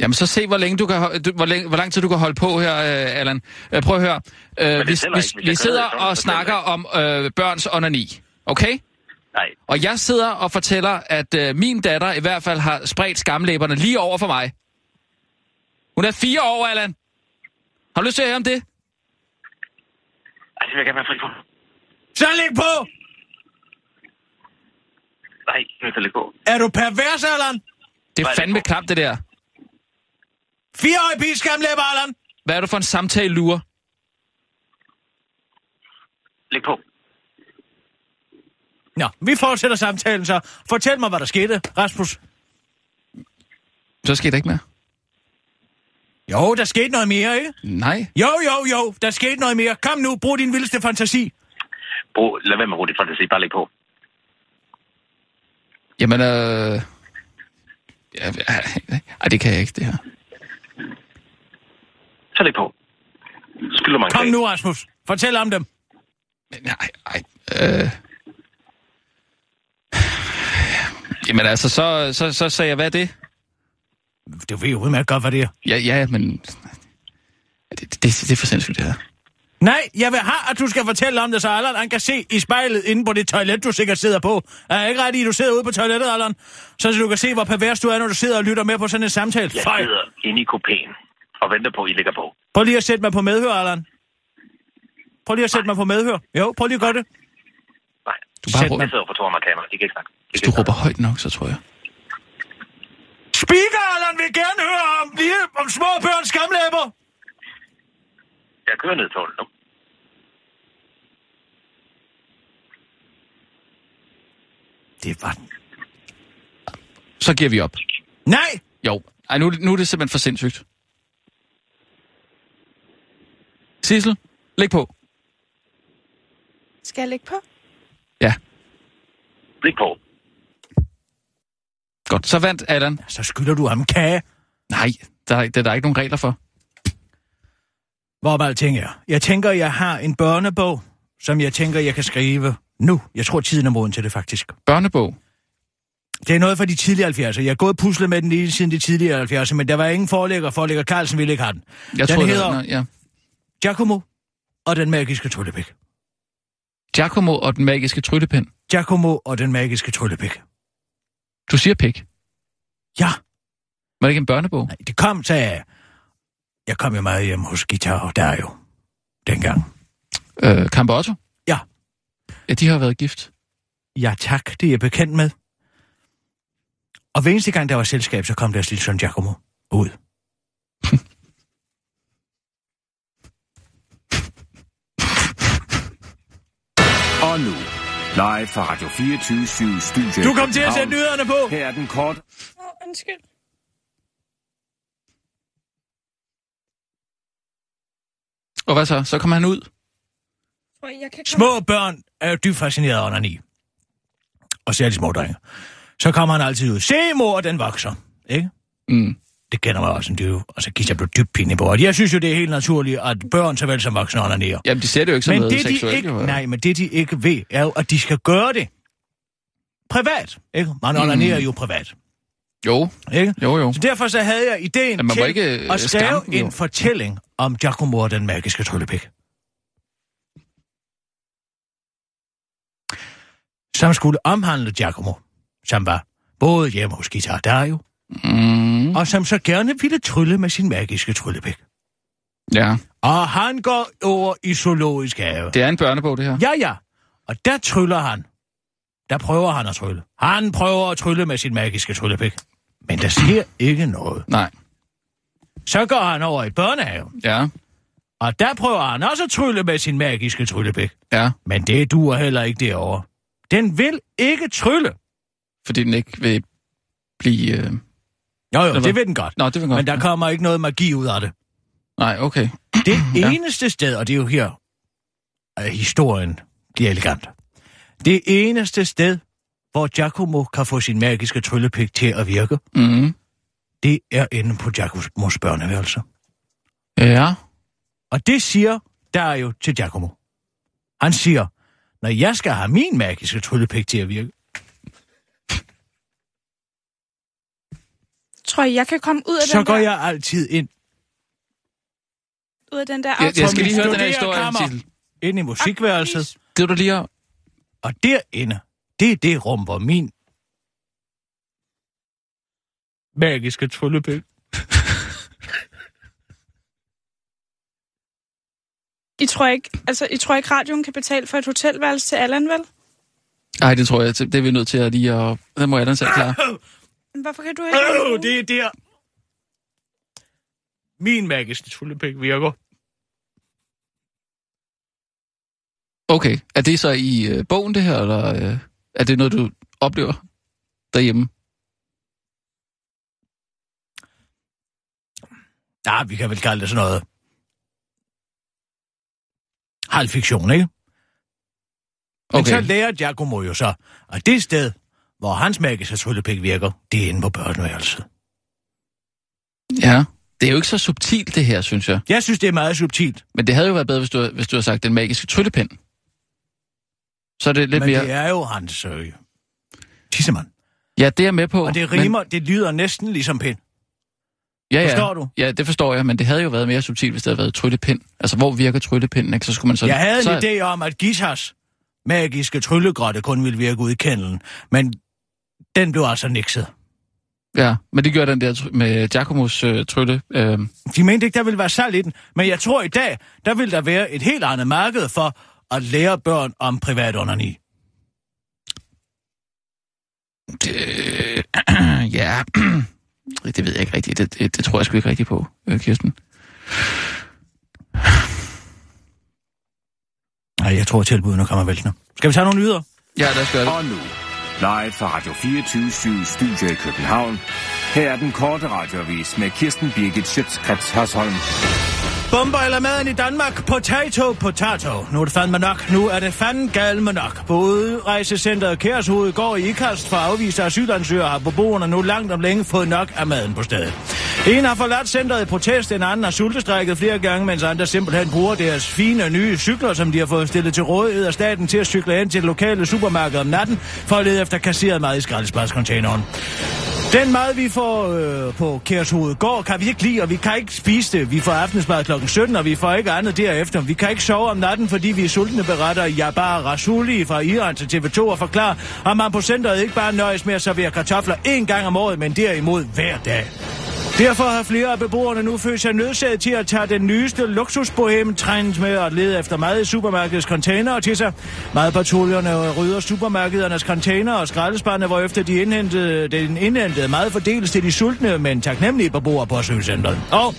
[SPEAKER 4] Jamen, så se, hvor, længe du kan, ho- du, hvor, længe, hvor lang tid du kan holde på her, øh, Allan. Øh, prøv at høre. Øh, vi,
[SPEAKER 8] tæller
[SPEAKER 4] vi,
[SPEAKER 8] ikke. Hvis
[SPEAKER 4] vi
[SPEAKER 8] jeg
[SPEAKER 4] sidder
[SPEAKER 8] kører, så er det
[SPEAKER 4] og
[SPEAKER 8] for
[SPEAKER 4] snakker om øh, børns onani. Okay?
[SPEAKER 8] Nej,
[SPEAKER 4] Og jeg sidder og fortæller, at øh, min datter i hvert fald har spredt skamlæberne lige over for mig. Hun er fire år, Allan. Har du lyst til at høre om det?
[SPEAKER 8] Ej, det vil jeg gerne være fri for.
[SPEAKER 5] Så læg på!
[SPEAKER 8] Nej, jeg er nødt til at lægge på.
[SPEAKER 5] Er du pervers, Allan?
[SPEAKER 4] Det er
[SPEAKER 8] det
[SPEAKER 4] fandme
[SPEAKER 8] for-
[SPEAKER 4] klamt, det der.
[SPEAKER 5] Fireårig pige skamlæber, Allan!
[SPEAKER 4] Hvad er du for en samtale, lurer?
[SPEAKER 8] Læg på.
[SPEAKER 5] Nå, vi fortsætter samtalen så. Fortæl mig, hvad der skete, Rasmus.
[SPEAKER 4] Så skete der ikke mere.
[SPEAKER 5] Jo, der skete noget mere, ikke?
[SPEAKER 4] Nej.
[SPEAKER 5] Jo, jo, jo, der skete noget mere. Kom nu, brug din vildeste fantasi.
[SPEAKER 8] Brug, lad være med at bruge dit fantasi, bare læg på.
[SPEAKER 4] Jamen, øh... Ja, ej, det kan jeg ikke, det her.
[SPEAKER 8] Så læg på. Skylder mig en
[SPEAKER 5] Kom
[SPEAKER 8] klage.
[SPEAKER 5] nu, Rasmus. Fortæl om dem.
[SPEAKER 4] Men Nej, nej. Øh... Jamen altså, så, så, så sagde jeg, hvad er det?
[SPEAKER 5] Det ved jeg udmærket godt, hvad det er.
[SPEAKER 4] Ja, ja, men... Det, det, det er for sindssygt, det her.
[SPEAKER 5] Nej, jeg vil have, at du skal fortælle om det, så Allan han kan se i spejlet inde på det toilet, du sikkert sidder på. Er jeg ikke ret i, at du sidder ude på toilettet, Allan? Så du kan se, hvor pervers du er, når du sidder og lytter med på sådan en samtale.
[SPEAKER 8] Jeg
[SPEAKER 5] Fej.
[SPEAKER 8] sidder inde i kopæen og venter på, at I lægger på.
[SPEAKER 5] Prøv lige at sætte mig på medhør, Allan. Prøv lige at sætte mig på medhør. Jo, prøv lige at gøre det.
[SPEAKER 8] Nej,
[SPEAKER 4] Du bare
[SPEAKER 5] Sæt
[SPEAKER 4] råber,
[SPEAKER 8] jeg sidder for foran mig kamera. I kan ikke snakke. I
[SPEAKER 4] hvis
[SPEAKER 8] kan
[SPEAKER 4] du
[SPEAKER 8] ikke
[SPEAKER 4] råber højt nok, så tror jeg.
[SPEAKER 5] Speaker, Allan, vil gerne høre om, lige om små børns skamlæber.
[SPEAKER 8] snakke. Jeg kører ned i tålen nu.
[SPEAKER 5] Det var den.
[SPEAKER 4] Så giver vi op.
[SPEAKER 5] Nej,
[SPEAKER 4] Jo. Ej, nu, er det- nu er det simpelthen for sindssygt. Sissel, læg på.
[SPEAKER 7] Skal jeg lægge på?
[SPEAKER 4] Ja,
[SPEAKER 8] Læg på.
[SPEAKER 4] godt. Så vandt Allan.
[SPEAKER 5] så skylder du ham en kage.
[SPEAKER 4] Nej, der, er- det er der ikke nogen regler for.
[SPEAKER 5] Hvorom alting er. Jeg tænker, jeg har en børnebog, som jeg tænker, jeg kan skrive nu. Jeg tror, tiden er moden til det, faktisk.
[SPEAKER 4] Børnebog.
[SPEAKER 5] Det er noget fra de tidlige 70'er. Jeg har gået og puslet med den lige siden de tidlige 70'er, men der var ingen forlægger. Forlægger Carlsen ville ikke have den.
[SPEAKER 4] Jeg
[SPEAKER 5] Den
[SPEAKER 4] tror,
[SPEAKER 5] hedder-
[SPEAKER 4] det er, ja.
[SPEAKER 5] Giacomo og den magiske tryllepik.
[SPEAKER 4] Giacomo og den magiske tryllepind.
[SPEAKER 5] Giacomo og den magiske tryllepik.
[SPEAKER 4] Du siger pik.
[SPEAKER 5] Ja,
[SPEAKER 4] Var det ikke en børnebog?
[SPEAKER 5] nej, det kom, sagde jeg. Jeg kom jo meget hjem hos Guitar og der jo. Dengang.
[SPEAKER 4] Øh, Kamp Otto?
[SPEAKER 5] Ja.
[SPEAKER 4] Ja, de har været gift.
[SPEAKER 5] Ja tak, det er jeg bekendt med. Og hver eneste gang, der var selskab, så kom deres lille søn Giacomo ud.
[SPEAKER 6] Og nu, live fra Radio 24 Studio
[SPEAKER 5] Du kom til at
[SPEAKER 6] København.
[SPEAKER 5] sætte nyhederne på!
[SPEAKER 6] Her er den korte
[SPEAKER 7] Åh, undskyld.
[SPEAKER 4] Og hvad så? Så kom han ud.
[SPEAKER 7] Tror I, jeg kan komme?
[SPEAKER 5] Små børn er jo dybt fascineret af onani. Og særligt små drenge. Så kommer han altid ud. Se mor, den vokser. Ikke?
[SPEAKER 4] Mm.
[SPEAKER 5] Det kender man også, en dyve. Og så gik jeg blev dybt pinlig på. Og jeg synes jo, det er helt naturligt, at børn såvel som voksne onanerer.
[SPEAKER 4] Jamen, de ser det jo ikke som
[SPEAKER 5] Men
[SPEAKER 4] noget
[SPEAKER 5] det, de
[SPEAKER 4] seksuelt.
[SPEAKER 5] ikke,
[SPEAKER 4] jo.
[SPEAKER 5] nej, men det de ikke ved, er jo, at de skal gøre det. Privat, ikke? Man
[SPEAKER 4] Mm.
[SPEAKER 5] onanerer jo privat,
[SPEAKER 4] Jo,
[SPEAKER 5] ikke?
[SPEAKER 4] jo, jo.
[SPEAKER 5] Så derfor så havde jeg ideen
[SPEAKER 4] Men man må
[SPEAKER 5] til
[SPEAKER 4] ikke, øh,
[SPEAKER 5] at skrive
[SPEAKER 4] skamme den,
[SPEAKER 5] en
[SPEAKER 4] jo.
[SPEAKER 5] fortælling om Giacomo og den magiske tryllepik. Som skulle omhandle Giacomo, som var både hjemme hos Guitar Dario,
[SPEAKER 4] Mm.
[SPEAKER 5] og som så gerne ville trylle med sin magiske tryllepik.
[SPEAKER 4] Ja,
[SPEAKER 5] Og han går over i zoologisk have.
[SPEAKER 4] det er en børnebog, det her.
[SPEAKER 5] Ja, ja. Og der tryller han. Der prøver han at trylle. Han prøver at trylle med sin magiske tryllepik. Men der sker ikke noget.
[SPEAKER 4] Nej,
[SPEAKER 5] Så går han over i børnehaven.
[SPEAKER 4] ja,
[SPEAKER 5] Og der prøver han også at trylle med sin magiske tryllepik.
[SPEAKER 4] ja.
[SPEAKER 5] Men det duer heller ikke derovre. Den vil ikke trylle.
[SPEAKER 4] Fordi den ikke vil blive... Øh...
[SPEAKER 5] Jo, jo,
[SPEAKER 4] Eller
[SPEAKER 5] det
[SPEAKER 4] hvad?
[SPEAKER 5] vil den godt.
[SPEAKER 4] Nå, det vil godt.
[SPEAKER 5] Men der kommer ikke noget magi ud af det.
[SPEAKER 4] Nej, okay.
[SPEAKER 5] Det
[SPEAKER 4] Ja.
[SPEAKER 5] eneste sted, og det er jo her, at historien bliver elegant. Det eneste sted, hvor Giacomo kan få sin magiske tryllepik til at virke,
[SPEAKER 4] Mm.
[SPEAKER 5] det er inde på Giacomos børneværelse.
[SPEAKER 4] Ja,
[SPEAKER 5] Og det siger der er jo til Giacomo. Han siger, når jeg skal have min magiske tryllepik til at virke,
[SPEAKER 7] Tror I, jeg kan komme ud af,
[SPEAKER 5] så
[SPEAKER 7] den,
[SPEAKER 5] går
[SPEAKER 7] der,
[SPEAKER 5] jeg altid ind,
[SPEAKER 7] ud af den der
[SPEAKER 4] jeg,
[SPEAKER 7] aftale?
[SPEAKER 4] jeg skal lige høre den her historie,
[SPEAKER 5] Studerekammer.
[SPEAKER 4] Sissel.
[SPEAKER 5] ind i musikværelset,
[SPEAKER 4] Det var du lige at...
[SPEAKER 5] Og derinde, det er det rum, hvor min magiske tryllepik.
[SPEAKER 7] I tror ikke, altså, I tror ikke radioen kan betale for et hotelværelse til Allan, vel?
[SPEAKER 4] Ej, det tror jeg, det er vi nødt til at lige at... Det må jeg da selv klare.
[SPEAKER 7] Men hvorfor kan du ikke?
[SPEAKER 5] Øh, det er der. Min magiske tryllepik virker.
[SPEAKER 4] Okay, er det så i øh, bogen, det her, eller... Øh... Er det noget, du oplever derhjemme?
[SPEAKER 5] Nej, vi kan vel kalde det sådan noget. Halvfiktion, ikke? Okay. Men så lærer Giacomo jo så, at det sted, hvor hans magiske tryllepik virker, det er inde på børneværelset.
[SPEAKER 4] Ja. Det er jo ikke så subtilt, det her, synes jeg.
[SPEAKER 5] Jeg synes, det er meget subtilt,
[SPEAKER 4] Men det havde jo været bedre, hvis du, hvis du havde sagt den magiske tryllepind. Så er det lidt
[SPEAKER 5] men
[SPEAKER 4] mere...
[SPEAKER 5] det er jo hans øh, tissemand.
[SPEAKER 4] Ja, det er jeg med på.
[SPEAKER 5] Og det
[SPEAKER 4] men-
[SPEAKER 5] rimer, men... det lyder næsten ligesom pind.
[SPEAKER 4] Ja, ja.
[SPEAKER 5] Forstår du?
[SPEAKER 4] Ja, det forstår jeg, men det havde jo været mere subtilt, hvis det havde været tryllepind. Altså, hvor virker tryllepinden, ikke? Så skulle man så...
[SPEAKER 5] Jeg havde
[SPEAKER 4] så...
[SPEAKER 5] en idé om, at Gishas magiske tryllegrotte kun ville virke ud i kendelen, men den blev altså nikset.
[SPEAKER 4] Ja, men det gjorde den der tr- med Giacomos øh, trylle. Øh,
[SPEAKER 5] De mente ikke, der ville være salg i den, men jeg tror i dag, der vil der være et helt andet marked for at lære børn om privat onani.
[SPEAKER 4] det... ja, det ved jeg ikke rigtigt. Det, det, det tror jeg sgu ikke rigtigt på, øh, Kirsten.
[SPEAKER 5] Nej, jeg tror, at tilbudene kommer væltende. Skal vi tage nogle nyheder?
[SPEAKER 4] Ja, lad os gøre det.
[SPEAKER 6] Og nu, live fra Radio 24 Studio i København. Her er den korte radiovis med Kirsten Birgit Schøtzgrads Hasholm.
[SPEAKER 5] Bomber eller maden i Danmark? Potato, potato. Nu er det fandme nok. Nu er det fanden galme nok. På udrejsecenteret Kærshoved går i ikast for afviste asylansøgere har beboerne nu langt om længe fået nok af maden på stedet. En har forladt centret i protest, en anden har sultestrækket flere gange, mens andre simpelthen bruger deres fine nye cykler, som de har fået stillet til rådighed af staten til at cykle ind til det lokale supermarked om natten for at lede efter kasseret mad i skraldespladscontaineren. Den mad, vi får øh, på Kærshoved går, kan vi ikke lide, og vi kan ikke spise det. Vi får aftensmad kl. 17, og vi får ikke andet derefter. Vi kan ikke sove om natten, fordi vi er sultne, beretter Jabar Rasuli fra Iran til TV2 og forklarer, at man på centret ikke bare nøjes med at servere kartofler én gang om året, men derimod hver dag. Derfor har flere af beboerne nu følt sig nødsaget til at tage den nyeste luksusbohem trend med at lede efter mad i supermarkedets containere til sig. Madpatruljerne rydder supermarkedernes container og skraldespande, hvorefter de indhentede, den indhentede mad fordeles til de sultne, men taknemmelige beboere på asylcentret. Og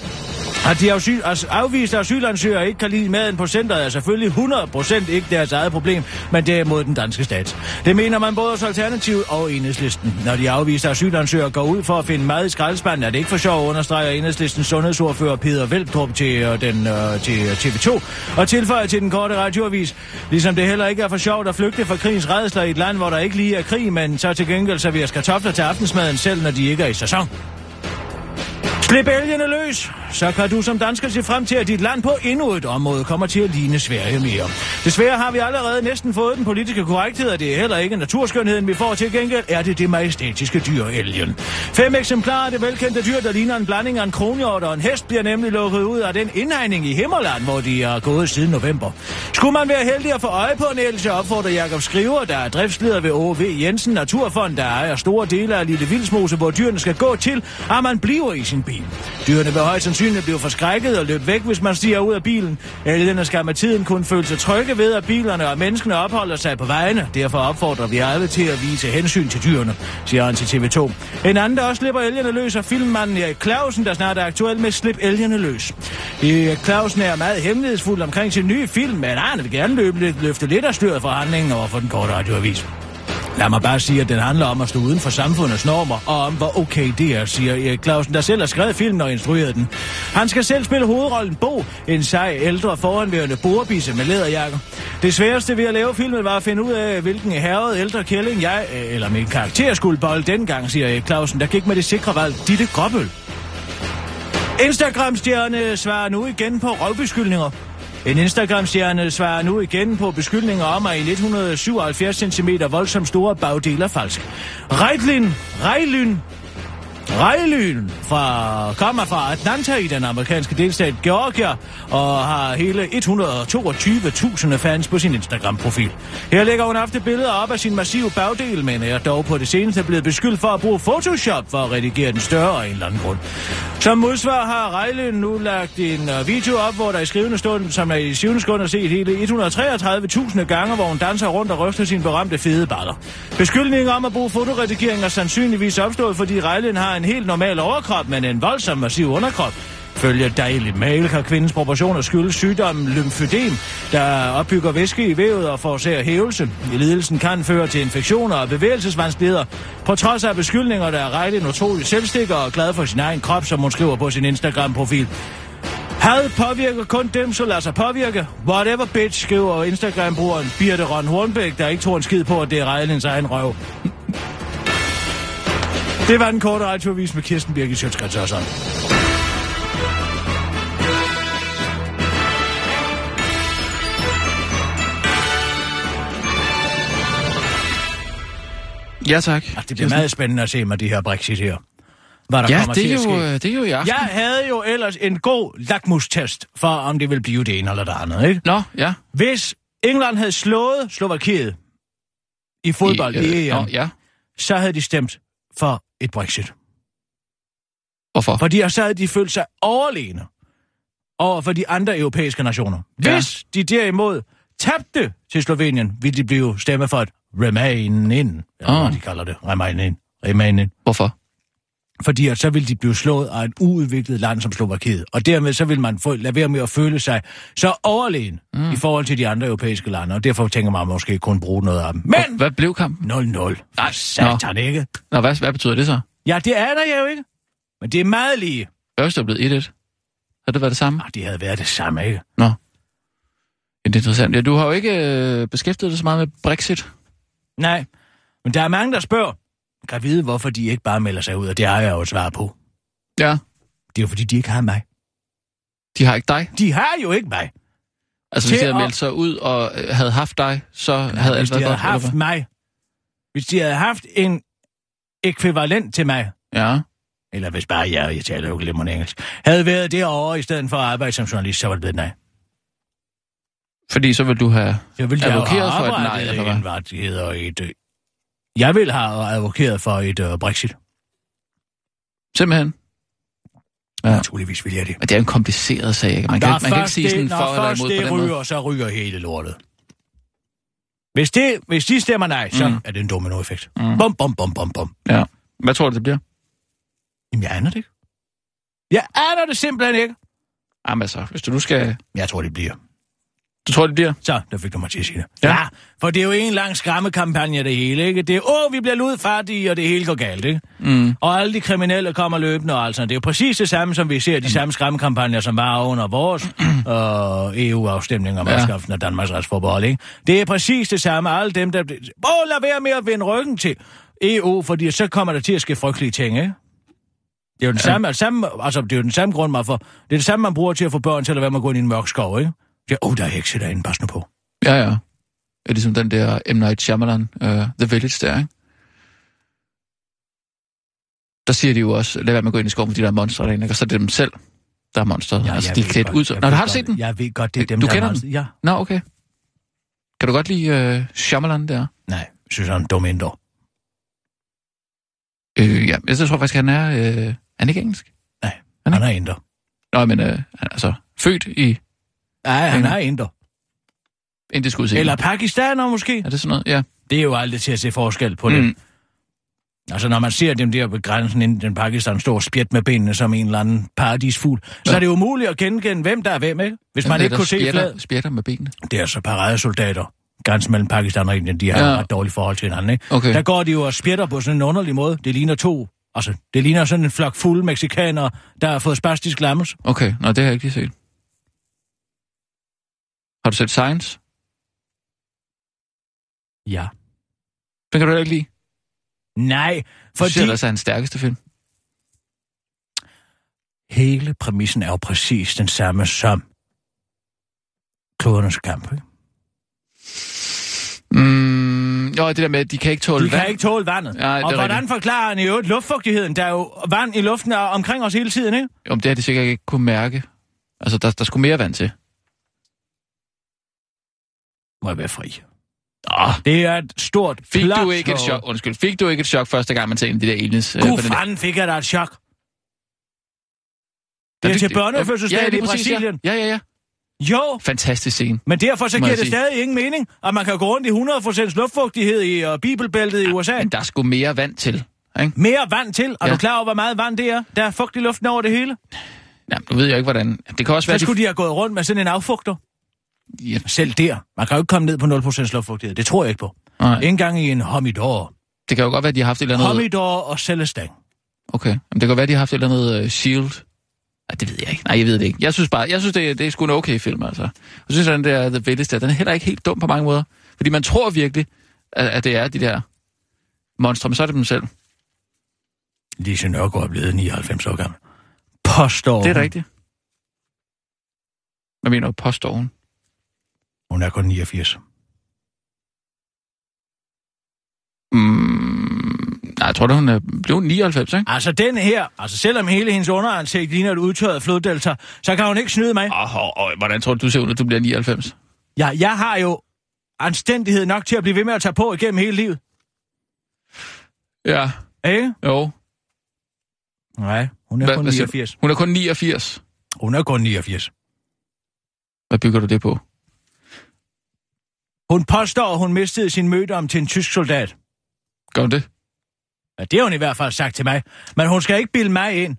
[SPEAKER 5] at de asyl, as, afviste asylansøgere ikke kan lide maden på centret, er selvfølgelig 100% ikke deres eget problem, men derimod den danske stat. Det mener man både hos Alternativet og Enhedslisten. Når de afviste asylansøgere går ud for at finde mad i skraldespanden, er det ikke for sjov, understreger Enhedslistens sundhedsordfører Peter Veldrup til, øh, den, øh, til øh, TV2 og tilføjer til den korte radioavis. Ligesom det heller ikke er for sjovt at flygte fra krigens redsler i et land, hvor der ikke lige er krig, men så til gengæld serveres kartofler til aftensmaden, selv når de ikke er i sæson. Slip elgene løs, så kan du som dansker se frem til, at dit land på endnu et område kommer til at ligne Sverige mere. Desværre har vi allerede næsten fået den politiske korrekthed, og det er heller ikke naturskønheden, vi får til gengæld, er det det majestætiske dyr, elgen. Fem eksemplarer af det velkendte dyr, der ligner en blanding af en kronhjort og en hest, bliver nemlig lukket ud af den indhegning i Himmerland, hvor de er gået siden november. Skulle man være heldig at få øje på en elg, så opfordrer Jakob Skriver, der er driftsleder ved OV Jensen Naturfond, der ejer store dele af Lille Vildsmose, hvor dyrene skal gå til, at man bliver i sin bil. Dyrene vil højst sandsynligt blive forskrækket og løbe væk, hvis man stiger ud af bilen. Elgene skal med tiden kun føle sig trygge ved, at bilerne og menneskene opholder sig på vejene. Derfor opfordrer vi alle til at vise hensyn til dyrene, siger han til TV2. En anden, der også slipper elgene løs, er filmmanden Erik Clausen, der snart er aktuel med Slip elgene løs. Erik Clausen er meget hemmelighedsfuld omkring sin nye film, men han vil gerne løbe lidt, løfte lidt af styret for handlingen over for den korte radioavis. Lad mig bare sige, at den handler om at stå uden for samfundets normer, og om hvor okay det er, siger Erik Clausen, der selv har skrevet filmen og instrueret den. Han skal selv spille hovedrollen Bo, en sej ældre foranværende borebisse med læderjakker. Det sværeste ved at lave filmen var at finde ud af, hvilken herret ældre kælling jeg, øh, eller min karakter skulle bolde dengang, siger Erik Clausen, der gik med det sikre valg Ditte Gråbøl. Instagram-stjerne svarer nu igen på røvbeskyldninger. En Instagram-stjerne svarer nu igen på beskyldninger om, at en 177 cm voldsomt store bagdel er falsk. Rejtlin, Rejlyn, Rejlyn fra, kommer fra Atlanta i den amerikanske delstat Georgia og har hele 122.000 fans på sin Instagram-profil. Her lægger hun ofte billeder op af sin massive bagdel, men er dog på det seneste blevet beskyldt for at bruge Photoshop for at redigere den større af en eller anden grund. Som modsvar har Rejlyn nu lagt en øh, video op, hvor der i skrivende stund, som er i syvende sekund, er set hele 133.000 gange, hvor hun danser rundt og ryster sin berømte fede baller. Beskyldningen om at bruge fotoredigering er sandsynligvis opstået, fordi Rejlen har en helt normal overkrop, men en voldsom massiv underkrop. Følge dejlig mail kan kvindens proportioner skyldes sygdommen lymfødem, der opbygger væske i vævet og forårsager hævelse. Lidelsen kan føre til infektioner og bevægelsesvanskeligheder. På trods af beskyldninger, der er regnet en utrolig selvstikker og glad for sin egen krop, som hun skriver på sin Instagram-profil. Had påvirker kun dem, som lader sig påvirke. Whatever bitch, skriver Instagram-brugeren Birte Ron Hornbæk, der ikke tror en skid på, at det er Rejlens egen røv. Det var den korte radioavis med Kirsten Birgit Sjøtskrets Ah, og sådan.
[SPEAKER 4] Ja, tak.
[SPEAKER 5] Det bliver meget spændende at se med de her Brexit her. Hvad der
[SPEAKER 4] Ja,
[SPEAKER 5] kommer
[SPEAKER 4] det
[SPEAKER 5] til at
[SPEAKER 4] er,
[SPEAKER 5] ske.
[SPEAKER 4] jo, øh, det er jo i aften.
[SPEAKER 5] Jeg havde jo ellers en god lakmustest for, om det ville blive det ene eller det andet, ikke?
[SPEAKER 4] Nå, ja.
[SPEAKER 5] Hvis England havde slået Slovakiet i fodbold i, øh, i
[SPEAKER 4] nå,
[SPEAKER 5] EM,
[SPEAKER 4] ja.
[SPEAKER 5] så havde de stemt for et Brexit.
[SPEAKER 4] Hvorfor?
[SPEAKER 5] Fordi så havde de følt sig overlegne over for de andre europæiske nationer. Hvis de derimod tabte til Slovenien, ville de blive stemme for et remain in, eller
[SPEAKER 4] Ah.
[SPEAKER 5] hvad de kalder det, remain in, remain in.
[SPEAKER 4] Hvorfor?
[SPEAKER 5] Fordi at så ville de blive slået af et uudviklet land som Slovakiet. Og dermed så vil man få, lade være med at føle sig så overlegen mm. i forhold til de andre europæiske lande. Og derfor tænker man måske kun bruge noget af dem. Men
[SPEAKER 4] Hvad blev kampen?
[SPEAKER 5] 0-0. Nej, satan ikke.
[SPEAKER 4] Nå, hvad, hvad betyder det så?
[SPEAKER 5] Ja, det er der jo ikke. Men det er meget lige.
[SPEAKER 4] Hvad hvis det var blevet 1-1? Har det været det samme?
[SPEAKER 5] Ah, det havde været det samme, ikke?
[SPEAKER 4] Nå. Ja, det er interessant. Ja, du har jo ikke øh, beskæftiget dig så meget med Brexit.
[SPEAKER 5] Nej, men der er mange, der spørger. Kan vide, hvorfor de ikke bare melder sig ud, og det har jeg jo et svar på.
[SPEAKER 4] Ja.
[SPEAKER 5] Det er jo fordi, de ikke har mig.
[SPEAKER 4] De har ikke dig.
[SPEAKER 5] De har jo ikke mig.
[SPEAKER 4] Altså,
[SPEAKER 5] Til
[SPEAKER 4] hvis de havde
[SPEAKER 5] at-
[SPEAKER 4] meldt sig ud og øh, havde haft dig, så havde
[SPEAKER 5] Hvis
[SPEAKER 4] alt
[SPEAKER 5] de
[SPEAKER 4] været
[SPEAKER 5] havde
[SPEAKER 4] godt. eller
[SPEAKER 5] haft mig. Hvis de havde haft en ekvivalent til mig,
[SPEAKER 4] hvad? Ja.
[SPEAKER 5] eller hvis bare jeg, jeg taler jo glimrende engelsk, havde været derovre i stedet for at arbejde som journalist, så var det blevet nej.
[SPEAKER 4] Fordi så vil du have...
[SPEAKER 5] Så ville jeg jo have
[SPEAKER 4] Advokeret for et nej,
[SPEAKER 5] arbejdet
[SPEAKER 4] eller hvad?
[SPEAKER 5] en hvad det hedder, et... øh, Jeg ville have advokeret for et uh, Brexit.
[SPEAKER 4] Simpelthen.
[SPEAKER 5] Ja.
[SPEAKER 4] Ja.
[SPEAKER 5] Naturligvis ville jeg det.
[SPEAKER 4] Men det er jo en kompliceret sag, ikke? Man kan,
[SPEAKER 5] Der
[SPEAKER 4] man kan ikke
[SPEAKER 5] først
[SPEAKER 4] sige sådan
[SPEAKER 5] det,
[SPEAKER 4] for
[SPEAKER 5] når
[SPEAKER 4] eller
[SPEAKER 5] først
[SPEAKER 4] imod på
[SPEAKER 5] det
[SPEAKER 4] den måde.
[SPEAKER 5] ryger, så ryger hele lortet. Hvis, det, hvis de stemmer nej, så
[SPEAKER 4] Mm.
[SPEAKER 5] er det en dominoeffekt.
[SPEAKER 4] Mm.
[SPEAKER 5] Bum, bum, bum, bum, bum.
[SPEAKER 4] Ja. Hvad tror du, det bliver?
[SPEAKER 5] Jamen, jeg aner det ikke. Jeg aner det simpelthen ikke.
[SPEAKER 4] Jamen altså, hvis du nu skal...
[SPEAKER 5] Jeg tror, det bliver.
[SPEAKER 4] Du tror, det bliver?
[SPEAKER 5] Så, der fik du mig til at sige det.
[SPEAKER 4] Ja.
[SPEAKER 5] Ja. ja, for det er jo en lang skræmmekampagne, det hele, ikke? Det er, åh, vi bliver ludfattige, og det hele går galt, ikke?
[SPEAKER 4] Mm.
[SPEAKER 5] Og alle de kriminelle kommer løbende, og altså, det er jo præcis det samme, som vi ser de samme skræmmekampagner, som var under vores øh, EU-afstemning om
[SPEAKER 4] Ja.
[SPEAKER 5] afskaffelsen af Danmarks retsforbehold, ikke? Det er præcis det samme. Alle dem, der... bliver- Åh, lad være med at vende ryggen til EU, fordi så kommer der til at ske frygtelige ting, ikke? Det er jo den samme, altså, samme, altså, det er jo den samme grund, man får, det er det samme, man bruger til at få børn til at lade være med at gå ind i en mørk skov, ikke? Ja, åh, oh, der er hekse derinde, pas nu på.
[SPEAKER 4] Ja, ja. Det er ligesom den der M. Night Shyamalan, uh, The Village der, ikke? Der siger de jo også, lad være med at gå ind i skoven, fordi der er monster derinde, ikke? Og så er det dem selv, der er monster. Ja, altså,
[SPEAKER 5] jeg
[SPEAKER 4] de er
[SPEAKER 5] ved
[SPEAKER 4] klædt
[SPEAKER 5] godt,
[SPEAKER 4] ud. som-
[SPEAKER 5] jeg
[SPEAKER 4] Nå,
[SPEAKER 5] ved
[SPEAKER 4] har du
[SPEAKER 5] godt,
[SPEAKER 4] set den?
[SPEAKER 5] Jeg ved godt, det er dem,
[SPEAKER 4] Du
[SPEAKER 5] der er
[SPEAKER 4] kender
[SPEAKER 5] monster. Ja,
[SPEAKER 4] Nå, okay. Kan du godt lide uh, Shyamalan der?
[SPEAKER 5] nej, synes jeg er en dum indår.
[SPEAKER 4] Øh, ja, jeg tror faktisk, han er... Øh, er han ikke engelsk? Han er-
[SPEAKER 5] Han er indår.
[SPEAKER 4] Nå, men øh, altså, født i
[SPEAKER 5] Nej, han
[SPEAKER 4] Hænger.
[SPEAKER 5] er inder.
[SPEAKER 4] indisk udseende.
[SPEAKER 5] Eller pakistaner måske.
[SPEAKER 4] Er det sådan noget? Ja.
[SPEAKER 5] Det er jo aldrig til at se forskel på det.
[SPEAKER 4] Mm.
[SPEAKER 5] Altså, når man ser dem der ved grænsen, inden den Pakistan står og spjæt med benene som en eller anden paradisfugl, så
[SPEAKER 4] Ja.
[SPEAKER 5] er det umuligt at genkende, hvem der er hvem, ikke? Hvis man
[SPEAKER 4] det,
[SPEAKER 5] ikke
[SPEAKER 4] der
[SPEAKER 5] kunne se
[SPEAKER 4] spjætter,
[SPEAKER 5] flad.
[SPEAKER 4] spjætter med benene.
[SPEAKER 5] Det er så paradesoldater. Grænsen mellem Pakistan og Indien, de har
[SPEAKER 4] Ja.
[SPEAKER 5] ja. et dårligt forhold til hinanden, ikke?
[SPEAKER 4] Okay.
[SPEAKER 5] Der går de jo og spjætter på sådan en underlig måde. Det ligner to. Altså, det ligner sådan en flok fulde mexikanere, der har fået spastisk lammelse.
[SPEAKER 4] Okay, nå, det har jeg ikke lige set. Har du set Science?
[SPEAKER 5] Ja.
[SPEAKER 4] Den kan du heller ikke lide.
[SPEAKER 5] Nej,
[SPEAKER 4] Fordi... Det er
[SPEAKER 5] fordi
[SPEAKER 4] altså hans stærkeste film.
[SPEAKER 5] hele præmissen er jo præcis den samme som klodernes kamp, ikke?
[SPEAKER 4] Mm, jo, det der med, at de kan ikke tåle
[SPEAKER 5] De kan
[SPEAKER 4] vand.
[SPEAKER 5] ikke tåle vandet.
[SPEAKER 4] Nej, det er
[SPEAKER 5] og hvordan
[SPEAKER 4] rigtigt.
[SPEAKER 5] forklarer han i øvrigt luftfugtigheden? Der er jo vand i luften og omkring os hele tiden, ikke?
[SPEAKER 4] Jo, men det har de sikkert ikke kunne mærke. Altså, der, der skulle mere vand til.
[SPEAKER 5] Må jeg være fri.
[SPEAKER 4] Åh,
[SPEAKER 5] Det er et stort
[SPEAKER 4] fik
[SPEAKER 5] plot,
[SPEAKER 4] du ikke et
[SPEAKER 5] og-
[SPEAKER 4] chok? Undskyld, fik du ikke et chok første gang, man ser en af de der aliens? øh,
[SPEAKER 5] Gud
[SPEAKER 4] på den der-
[SPEAKER 5] fanden fik jeg da et chok.
[SPEAKER 4] Ja,
[SPEAKER 5] Det er til
[SPEAKER 4] ja, ja,
[SPEAKER 5] børnefødselsdag
[SPEAKER 4] lige
[SPEAKER 5] i
[SPEAKER 4] præcis, ja.
[SPEAKER 5] Brasilien.
[SPEAKER 4] Ja, ja, ja.
[SPEAKER 5] Jo,
[SPEAKER 4] Fantastisk scene.
[SPEAKER 5] men derfor så
[SPEAKER 4] Må
[SPEAKER 5] giver
[SPEAKER 4] jeg
[SPEAKER 5] det
[SPEAKER 4] sige.
[SPEAKER 5] stadig ingen mening, at man kan gå rundt i 100% luftfugtighed i og bibelbæltet i USA.
[SPEAKER 4] Men der skulle mere vand til, ikke?
[SPEAKER 5] Mere vand til. Er
[SPEAKER 4] Ja.
[SPEAKER 5] du klar over, hvor meget vand det er? Der er fugt i luften over det hele.
[SPEAKER 4] Jamen, nu ved jeg ikke, hvordan... Det kan også være...
[SPEAKER 5] Hvad skulle de have gået rundt med sådan en affugter?
[SPEAKER 4] de... Ja,
[SPEAKER 5] Selv der. Man kan jo ikke komme ned på 0% luftfugtighed. Det tror jeg ikke på.
[SPEAKER 4] nej.
[SPEAKER 5] Ikke engang i en homidor.
[SPEAKER 4] Det kan jo godt være, de har haft et eller andet...
[SPEAKER 5] Homidor og Celestang.
[SPEAKER 4] Okay. Jamen, det kan godt være, de har haft et eller andet uh, shield. Nej, det ved jeg ikke. Nej, jeg ved det ikke. Jeg synes bare, jeg synes, det, er- det er sgu en okay film, altså. Jeg synes, at den der The Village, der, den er heller ikke helt dum på mange måder. Fordi man tror virkelig, at, at det er de der monstre, men så er det dem selv.
[SPEAKER 5] Lise Nørgaard er blevet 99 år gammel. Påstår
[SPEAKER 4] Det er
[SPEAKER 5] hun.
[SPEAKER 4] rigtigt. Hvad mener du? Påstår hun?
[SPEAKER 5] Hun er kun 89.
[SPEAKER 4] Mm, nej, jeg tror da, hun er blev 99, ikke?
[SPEAKER 5] Altså den her, altså selvom hele hendes underansigt ligner et udtørret floddelta, så kan hun ikke snyde mig.
[SPEAKER 4] Åh, oh, oh, hvordan tror du, du ser ud, når du bliver 99?
[SPEAKER 5] Jeg, jeg har jo anstændighed nok til at blive ved med at tage på igennem hele livet.
[SPEAKER 4] Ja,
[SPEAKER 5] Ikke?
[SPEAKER 4] jo.
[SPEAKER 5] Nej, hun er
[SPEAKER 4] Hvad-
[SPEAKER 5] kun
[SPEAKER 4] hvad siger
[SPEAKER 5] 89.
[SPEAKER 4] Hun er kun 89.
[SPEAKER 5] Hun er kun 89.
[SPEAKER 4] Hvad bygger du det på?
[SPEAKER 5] Hun påstår, at hun mistede sin mødom til en tysk soldat.
[SPEAKER 4] Gør hun det?
[SPEAKER 5] Ja, det har hun i hvert fald sagt til mig. Men hun skal ikke bilde mig ind,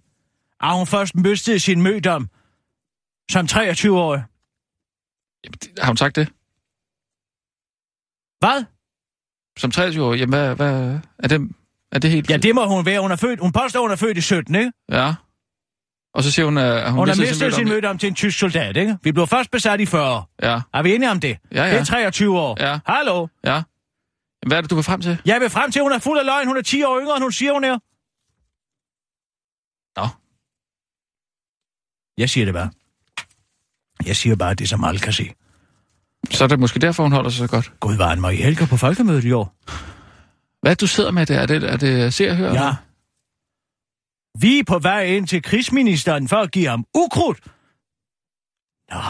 [SPEAKER 5] at hun først mistede sin mødom som 23-årig.
[SPEAKER 4] Jamen, det- Har hun sagt det?
[SPEAKER 5] Hvad?
[SPEAKER 4] Som 23 år? Jamen, hvad, hvad er, det, er det helt...
[SPEAKER 5] Ja, det må hun være. Hun, er født, hun påstår, hun er født i 17, ikke?
[SPEAKER 4] Ja. Og så siger hun, at hun,
[SPEAKER 5] Hun, hun har mistet sin
[SPEAKER 4] mødom.
[SPEAKER 5] mødom til en tysk soldat, ikke? Vi blev først besat i 40 år.
[SPEAKER 4] Ja,
[SPEAKER 5] Er vi enige om det?
[SPEAKER 4] Ja, ja.
[SPEAKER 5] Det er 23 år.
[SPEAKER 4] Ja.
[SPEAKER 5] Hallo?
[SPEAKER 4] ja. Jamen, Hvad er det, du vil frem til?
[SPEAKER 5] Jeg vil frem til, at hun er fuld af løgn. Hun er 10 år yngre, end hun siger, hun er.
[SPEAKER 4] Nå.
[SPEAKER 5] Jeg siger det bare. Jeg siger bare det, som alle kan se.
[SPEAKER 4] Så er det måske derfor, hun holder sig så godt.
[SPEAKER 5] Gud var en mig i Helga på folkemødet i år.
[SPEAKER 4] Hvad er det, du sidder med der? Er det, er det ser og hører?
[SPEAKER 5] Ja. Vi er på vej ind til krigsministeren for at give ham ukrudt. Nå.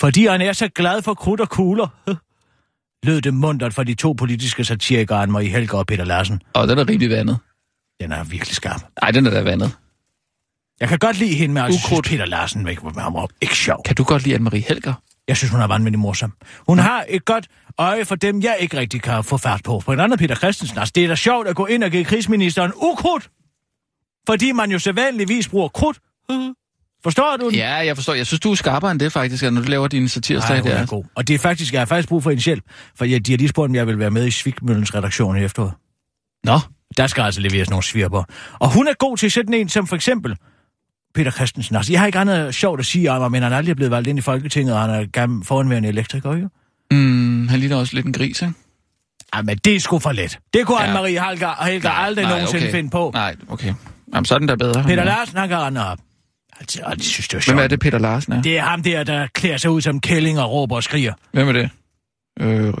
[SPEAKER 5] Fordi han er så glad for krudt og kugler. Lød det mundret fra de to politiske satirikere, Marie Helga og Peter Larsen.
[SPEAKER 4] Og den er rimelig vandet.
[SPEAKER 5] Den er virkelig skarp.
[SPEAKER 4] Nej, den er da vandet.
[SPEAKER 5] Jeg kan godt lide hende, men jeg synes,
[SPEAKER 4] Ukrudt.
[SPEAKER 5] Peter Larsen væk med ham op. Ikke sjov.
[SPEAKER 4] Kan du godt lide Anne-Marie Helger?
[SPEAKER 5] Jeg synes, hun er vanvittig morsom. Hun har et godt øje for dem, jeg ikke rigtig kan få fart på. For en anden Peter Christensen, altså, det er da sjovt at gå ind og give krigsministeren ukrudt. Fordi man jo sædvanligvis bruger krudt. Forstår du? den?
[SPEAKER 4] Ja, jeg forstår. Jeg synes, du er skarpere end det faktisk, når du laver dine
[SPEAKER 5] Ej,
[SPEAKER 4] satirsdag
[SPEAKER 5] hun er
[SPEAKER 4] der.
[SPEAKER 5] god. Og det er faktisk, jeg har faktisk brug for en hjælp. For jeg, de har lige spurgt, om jeg vil være med i Svigmøllens redaktion i efteråret.
[SPEAKER 4] Nå,
[SPEAKER 5] Der skal altså leveres nogle svirper. Og hun er god til sådan en som for eksempel Peter Christensen. Altså, jeg har ikke andet sjovt at sige om ham, men han er aldrig blevet valgt ind i Folketinget, og han er gammel foranværende elektriker, jo.
[SPEAKER 4] mm, han ligner også lidt en gris, ikke?
[SPEAKER 5] Jamen, Ah, det er sgu for let. Det kunne
[SPEAKER 4] Ja.
[SPEAKER 5] ja. Anne-Marie Helga, Helga nej, aldrig nej, nogensinde okay. finde på. Nej.
[SPEAKER 4] Oh. Nej, okay. Jamen, så er den der bedre.
[SPEAKER 5] Peter
[SPEAKER 4] Ja.
[SPEAKER 5] Larsen, han kan rende op. Altså, og de synes, det er sjovt.
[SPEAKER 4] Hvem er det, Peter Larsen er?
[SPEAKER 5] Det er ham der, der klæder sig ud som kælling og råber og skriger.
[SPEAKER 4] Hvem er det? Øh, øh,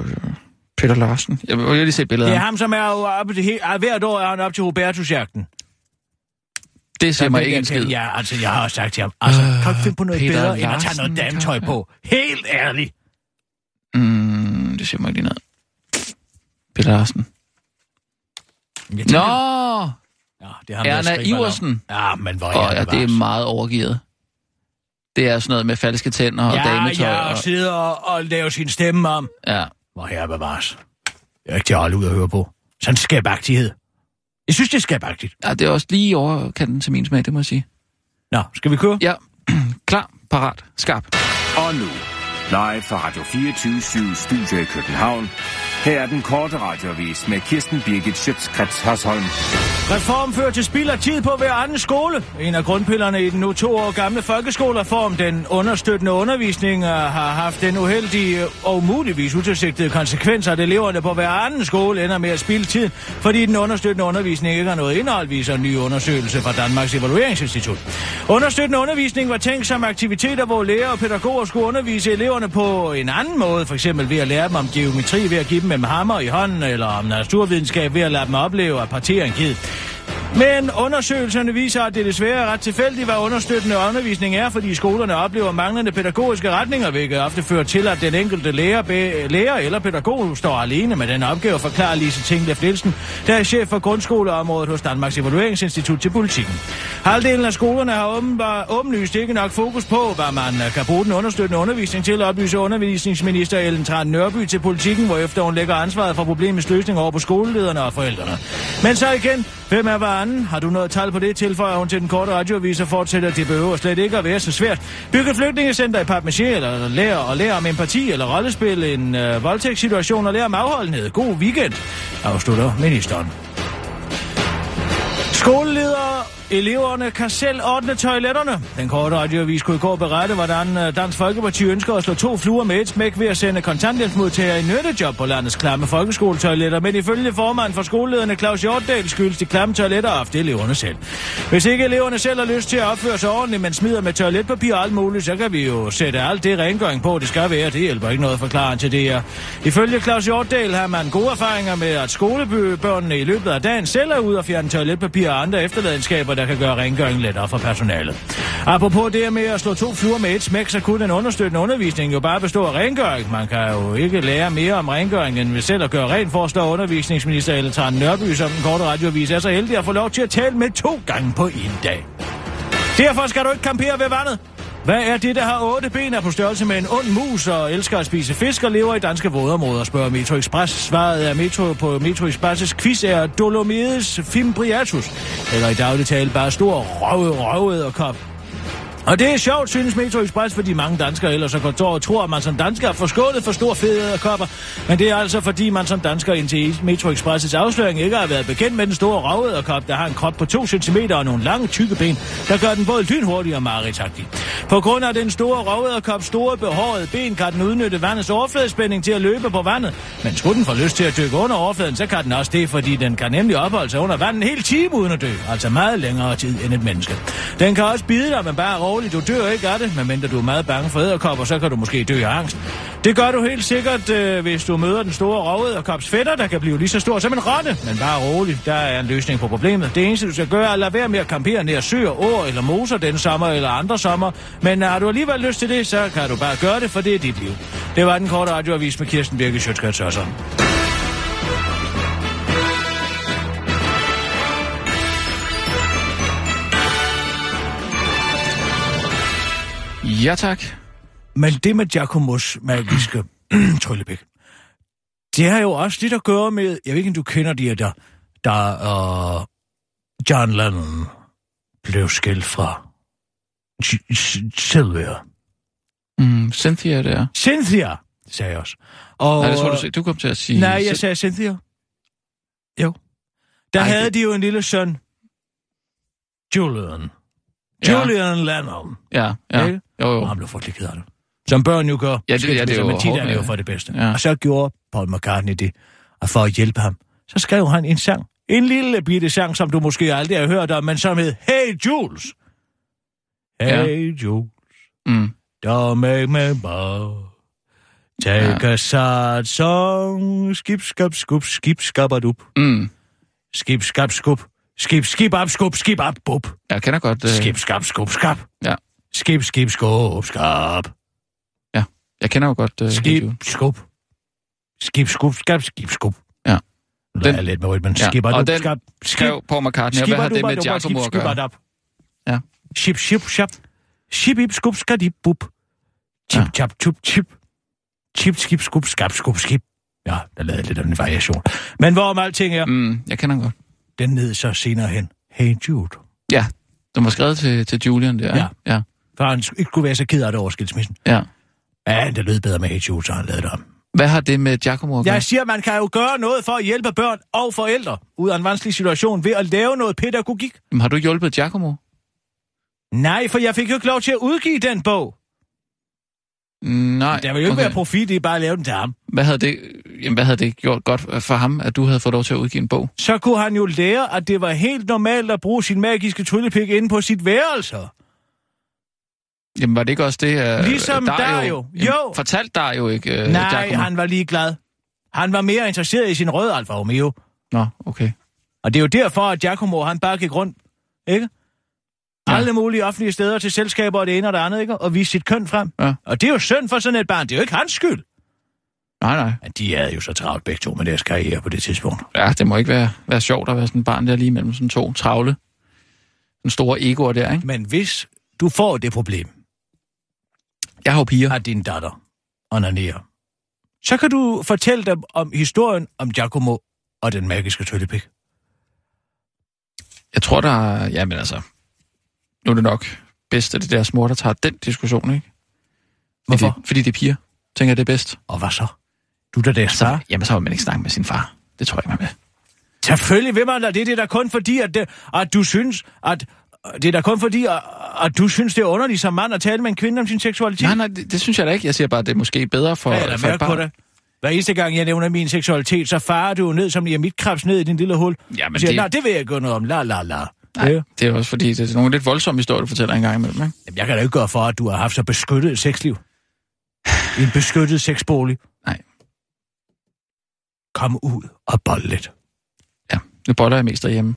[SPEAKER 4] Peter Larsen. Jeg vil jeg vil lige se
[SPEAKER 5] Ja.
[SPEAKER 4] billedet
[SPEAKER 5] Det
[SPEAKER 4] af
[SPEAKER 5] er
[SPEAKER 4] ham.
[SPEAKER 5] ham, som er jo oppe til, he- er hvert år er han op til Hubertus-jagten.
[SPEAKER 4] Det ser
[SPEAKER 5] Så
[SPEAKER 4] mig
[SPEAKER 5] den
[SPEAKER 4] ikke
[SPEAKER 5] der
[SPEAKER 4] en skid.
[SPEAKER 5] kælling, Ja, altså, jeg har også sagt til ham, altså,
[SPEAKER 4] Øh,
[SPEAKER 5] kan du ikke finde på noget
[SPEAKER 4] Peter
[SPEAKER 5] Peter bedre, end at tage
[SPEAKER 4] Larsen,
[SPEAKER 5] noget dametøj
[SPEAKER 4] tak.
[SPEAKER 5] på? Helt ærligt.
[SPEAKER 4] Mm, det ser mig ikke lige noget. Peter Larsen.
[SPEAKER 5] Jeg
[SPEAKER 4] Nå!
[SPEAKER 5] tænker- Nå, det er ham, der
[SPEAKER 4] Erna
[SPEAKER 5] skriver navn.
[SPEAKER 4] Iversen.
[SPEAKER 5] Ja, men hvor er
[SPEAKER 4] Og
[SPEAKER 5] oh,
[SPEAKER 4] ja, det er meget overgivet. Det er sådan noget med falske tænder og
[SPEAKER 5] Ja,
[SPEAKER 4] dametøj.
[SPEAKER 5] ja,
[SPEAKER 4] og,
[SPEAKER 5] og sidder og, og laver sin stemme om.
[SPEAKER 4] ja.
[SPEAKER 5] Hvor herre bevares. Jeg er ikke til at holde ud at høre på. Sådan skabagtighed. Jeg synes, det er skabagtigt.
[SPEAKER 4] ja, det er også lige i overkanten til min smag, det må jeg sige.
[SPEAKER 5] Nå, skal vi køre?
[SPEAKER 4] Ja, klar, parat, skarp.
[SPEAKER 6] Og nu, live fra Radio 24 Studio i København. Her er den korte radiovis med Kirsten Birgit Schøtzgrads Hasholm.
[SPEAKER 5] Reform fører til spild af tid på hver anden skole. En af grundpillerne i den nu to år gamle folkeskolereform, den understøttende undervisning, øh, har haft den uheldige øh, og muligvis utilsigtede konsekvens, at eleverne på hver anden skole ender med at spilde tid, fordi den understøttende undervisning ikke har noget indhold, viser en ny undersøgelse fra Danmarks Evalueringsinstitut. Understøttende undervisning var tænkt som aktiviteter, hvor lærere og pædagoger skulle undervise eleverne på en anden måde, f.eks. ved at lære dem om geometri ved at give dem en hammer i hånden, eller om naturvidenskab ved at lade dem opleve at partere en kid. Men undersøgelserne viser, at det desværre er ret tilfældigt, hvad understøttende undervisning er, fordi skolerne oplever manglende pædagogiske retninger, hvilket ofte fører til, at den enkelte lærer, be, lærer eller pædagog står alene med den opgave, forklarer Lise Tinglef Nielsen, der er chef for grundskoleområdet hos Danmarks Evalueringsinstitut til politikken. Halvdelen af skolerne har åbenbar, åbenlyst ikke nok fokus på, hvad man øh, kan bruge den understøttende undervisning til, oplyser undervisningsminister Ellen Tran Nørby til politikken, hvorefter hun lægger ansvaret for problemets løsning over på skolelederne og forældrene. Men så igen, hvem er hvad anden. Har du noget tal på det, tilføjer hun til den korte radioavis og fortsætter, at det behøver slet ikke at være så svært. Bygge flygtningecenter i papmaché, eller lære og lære om empati, eller rollespil, en øh, voldtægtssituation og lære om afholdenhed. God weekend, afslutter ministeren. Skoleledere, eleverne kan selv ordne toiletterne. Den korte radioavis kunne i går berette, hvordan øh, Dansk Folkeparti ønsker at slå to fluer med et smæk ved at sende kontanthjælpsmodtagere i nyttejob på landets klamme folkeskoletoiletter, men ifølge formanden for skolelederne Claus Hjortdal skyldes de klamme toiletter ofte eleverne selv. Hvis ikke eleverne selv har lyst til at opføre sig ordentligt, men smider med toiletpapir og alt muligt, så kan vi jo sætte alt det rengøring på, det skal være. Det hjælper ikke noget at forklare til det her. Ifølge Claus Hjortdal har man gode erfaringer med, at skolebørnene i løbet af dagen selv er ude og fjerne toiletpapir og andre efterladenskaber, der kan gøre rengøringen lettere for personalet. Apropos det med at slå to fluer med et smæk, så kunne den understøttende undervisning jo bare bestå af rengøring. Man kan jo ikke lære mere om rengøring, end ved selv at gøre rent, forslår undervisningsminister Ellen Trane Nørby, som den korte radioavis er så heldig at få lov til at tale med to gange på en dag. Derfor skal du ikke kampere ved vandet. Hvad er det, der har otte ben er på størrelse med en ond mus og elsker at spise fisk og lever i danske vådområder, spørger Metro Express. Svaret er Metro på Metro Express' quiz er Dolomides fimbriatus, eller i daglig tale bare stor røvet røvet og kop. Og det er sjovt, synes Metro Express, fordi mange danskere ellers og kontor tror, at man som dansker er forskålet for stor fede kopper. Men det er altså, fordi man som dansker indtil Metro Express' afsløring ikke har været bekendt med den store ravederkop, der har en krop på 2 cm og nogle lange tykke ben, der gør den både lynhurtig og mareridtagtig. På grund af den store ravederkops store behårede ben, kan den udnytte vandets overfladespænding til at løbe på vandet. Men skulle den få lyst til at dykke under overfladen, så kan den også det, fordi den kan nemlig opholde sig under vandet en hel time uden at dø. Altså meget længere tid end et menneske. Den kan også bide dig, men bare roligt. Du dør ikke af det, medmindre du er meget bange for æderkopper, så kan du måske dø af angst. Det gør du helt sikkert, øh, hvis du møder den store rovederkops fætter, der kan blive lige så stor som en rotte. Men bare roligt, der er en løsning på problemet. Det eneste, du skal gøre, er at lade være med at kampere nær søer, åer eller moser den sommer eller andre sommer. Men har du alligevel lyst til det, så kan du bare gøre det, for det er dit liv. Det var den korte radioavis med Kirsten Birke Sjøtskrets Sørsson.
[SPEAKER 4] Ja, tak.
[SPEAKER 5] Men det med Giacomos magiske tryllebæk, det har jo også lidt at gøre med, jeg ved ikke, om du kender de her, der, der uh, John Lennon blev skilt fra G- S- Sylvia.
[SPEAKER 4] Mm, Cynthia der.
[SPEAKER 5] Cynthia, sagde jeg også. Og,
[SPEAKER 4] Nej, det tror du, sag- du kom til at sige.
[SPEAKER 5] Nej, jeg sagde Cynthia. Jo. Der
[SPEAKER 4] Ej,
[SPEAKER 5] Ej, havde
[SPEAKER 4] det-
[SPEAKER 5] de jo en lille søn, Julian.
[SPEAKER 4] Ja.
[SPEAKER 5] Julian Lennon.
[SPEAKER 4] Ja, ja.
[SPEAKER 5] Ikke?
[SPEAKER 4] Jo,
[SPEAKER 5] Og
[SPEAKER 4] jo.
[SPEAKER 5] han blev frygtelig ked af det. Som børn jo gør.
[SPEAKER 4] ja, det er
[SPEAKER 5] Skilsmisser,
[SPEAKER 4] jo
[SPEAKER 5] Men tit er
[SPEAKER 4] hårdt,
[SPEAKER 5] det jo
[SPEAKER 4] ja.
[SPEAKER 5] for det bedste.
[SPEAKER 4] Ja.
[SPEAKER 5] Og så gjorde Paul McCartney det. Og for at hjælpe ham, så skrev han en sang. En lille bitte sang, som du måske aldrig har hørt om, men som hed Hey Jules.
[SPEAKER 4] Ja.
[SPEAKER 5] Hey Jules,
[SPEAKER 4] Mm.
[SPEAKER 5] don't make me bow. Take a sad song. Skip, skab, skub, skip, skab, dup.
[SPEAKER 4] Mm.
[SPEAKER 5] Skip, skab, skub. Skip, skip, op, skub, skip, op, bup.
[SPEAKER 4] Jeg kender godt... Øh,
[SPEAKER 5] Skip, skab, skub, skab.
[SPEAKER 4] Ja.
[SPEAKER 5] Skip, skip, skub, skab.
[SPEAKER 4] Jeg kender jo godt... Øh,
[SPEAKER 5] Skib,
[SPEAKER 4] videoen.
[SPEAKER 5] skub. Skib, skub, skab, skib, skub.
[SPEAKER 4] Ja.
[SPEAKER 5] Den,
[SPEAKER 4] Den-
[SPEAKER 5] jeg lidt med rytmen.
[SPEAKER 4] Ja,
[SPEAKER 5] Ja. Skibber
[SPEAKER 4] og
[SPEAKER 5] du,
[SPEAKER 4] den
[SPEAKER 5] skab, skib,
[SPEAKER 4] Skrev Paul McCartney, og hvad
[SPEAKER 5] skibber
[SPEAKER 4] har
[SPEAKER 5] du,
[SPEAKER 4] det
[SPEAKER 5] bare
[SPEAKER 4] med
[SPEAKER 5] du, bare skib,
[SPEAKER 4] Giacomo at
[SPEAKER 5] skibber
[SPEAKER 4] gøre?
[SPEAKER 5] dap.
[SPEAKER 4] Ja.
[SPEAKER 5] Ship, ship, shop. Ship, ip, skub, skadib, bub.
[SPEAKER 4] Ja.
[SPEAKER 5] Chip, chap, chup, chip. Chip, skib, skub, skab, skub, skib. Ja, der lavede jeg lidt af en variation. Men hvorom alting er,
[SPEAKER 4] Mm, jeg kender den godt.
[SPEAKER 5] den ned så senere hen. Hey Jude.
[SPEAKER 4] Ja, den var skrevet til, til Julian der. ikke? Ja.
[SPEAKER 5] For han skulle- ikke kunne være så ked af det over skilsmissen.
[SPEAKER 4] ja.
[SPEAKER 5] Ja, det lød bedre med Hey Jude, så han lavede det om.
[SPEAKER 4] Hvad har det med Giacomo at gøre?
[SPEAKER 5] Jeg siger, man kan jo gøre noget for at hjælpe børn og forældre ud af en vanskelig situation ved at lave noget pædagogik.
[SPEAKER 4] Jamen, har du hjulpet Giacomo?
[SPEAKER 5] Nej, for jeg fik jo ikke lov til at udgive den bog.
[SPEAKER 4] Nej.
[SPEAKER 5] Der vil jo ikke
[SPEAKER 4] okay.
[SPEAKER 5] være profit i bare at lave den til ham.
[SPEAKER 4] Hvad havde, det, jamen, hvad havde det gjort godt for ham, at du havde fået lov til at udgive en bog?
[SPEAKER 5] Så kunne han jo lære, at det var helt normalt at bruge sin magiske tryllepik inde på sit værelse.
[SPEAKER 4] Øh, Jamen, var det ikke også det, uh,
[SPEAKER 5] Ligesom Dario. Jo.
[SPEAKER 4] Fortalte Dario ikke, uh,
[SPEAKER 5] Øh, Nej,
[SPEAKER 4] Giacomo?
[SPEAKER 5] han var ligeglad. Han var mere interesseret i sin røde Alfa Romeo.
[SPEAKER 4] Nå, okay.
[SPEAKER 5] Og det er jo derfor, at Giacomo, han bare gik rundt, ikke?
[SPEAKER 4] Ja.
[SPEAKER 5] Ja. Alle mulige offentlige steder til selskaber og det ene og det andet, ikke? Og vise sit køn frem.
[SPEAKER 4] Ja.
[SPEAKER 5] Og det er jo synd for sådan et barn. Det er jo ikke hans skyld.
[SPEAKER 4] Nej, nej.
[SPEAKER 5] Men de havde jo så travlt begge to med deres karriere på det tidspunkt.
[SPEAKER 4] Ja, det må ikke være, være sjovt at være sådan et barn der lige mellem sådan to travle. Den store egoer der, ikke?
[SPEAKER 5] Men hvis du får det problem,
[SPEAKER 4] Jeg har jo piger.
[SPEAKER 5] at din datter onanerer, så kan du fortælle dem om historien om Giacomo og den magiske tøllepik.
[SPEAKER 4] Jeg tror, der er... Jamen altså, nu er det nok bedst, at det der mor, der tager den diskussion, ikke?
[SPEAKER 5] Hvorfor?
[SPEAKER 4] Fordi, fordi det er piger. Tænker jeg, det er bedst.
[SPEAKER 5] Og hvad så? Du der deres
[SPEAKER 4] Så,
[SPEAKER 5] far?
[SPEAKER 4] jamen, så vil man ikke snakke med sin far. Det tror jeg ikke, man vil.
[SPEAKER 5] Selvfølgelig vil man da. Det er det da kun fordi, at, det, at du synes, at... Det er da kun fordi, at, at du synes, det er underligt som mand at tale med en kvinde om sin seksualitet.
[SPEAKER 4] Nej, nej, det, det synes jeg da ikke. Jeg siger bare, at det er måske bedre for,
[SPEAKER 5] Hvad er der
[SPEAKER 4] for et
[SPEAKER 5] mærke på
[SPEAKER 4] barn.
[SPEAKER 5] dig? Hver eneste gang, jeg nævner min seksualitet, så farer du jo ned som mit krebs ned i din lille hul.
[SPEAKER 4] Jamen,
[SPEAKER 5] Du siger,
[SPEAKER 4] det-
[SPEAKER 5] det... nej, det vil jeg ikke gøre noget om. La, la, la. Ja.
[SPEAKER 4] Nej, det er også fordi, det er nogle lidt voldsomme historier, du fortæller en gang imellem, ikke?
[SPEAKER 5] Jamen, jeg kan da ikke gøre for, at du har haft så beskyttet et sexliv. I en beskyttet sexbolig.
[SPEAKER 4] Nej.
[SPEAKER 5] Kom ud og bold lidt.
[SPEAKER 4] Ja, nu boller jeg mest derhjemme.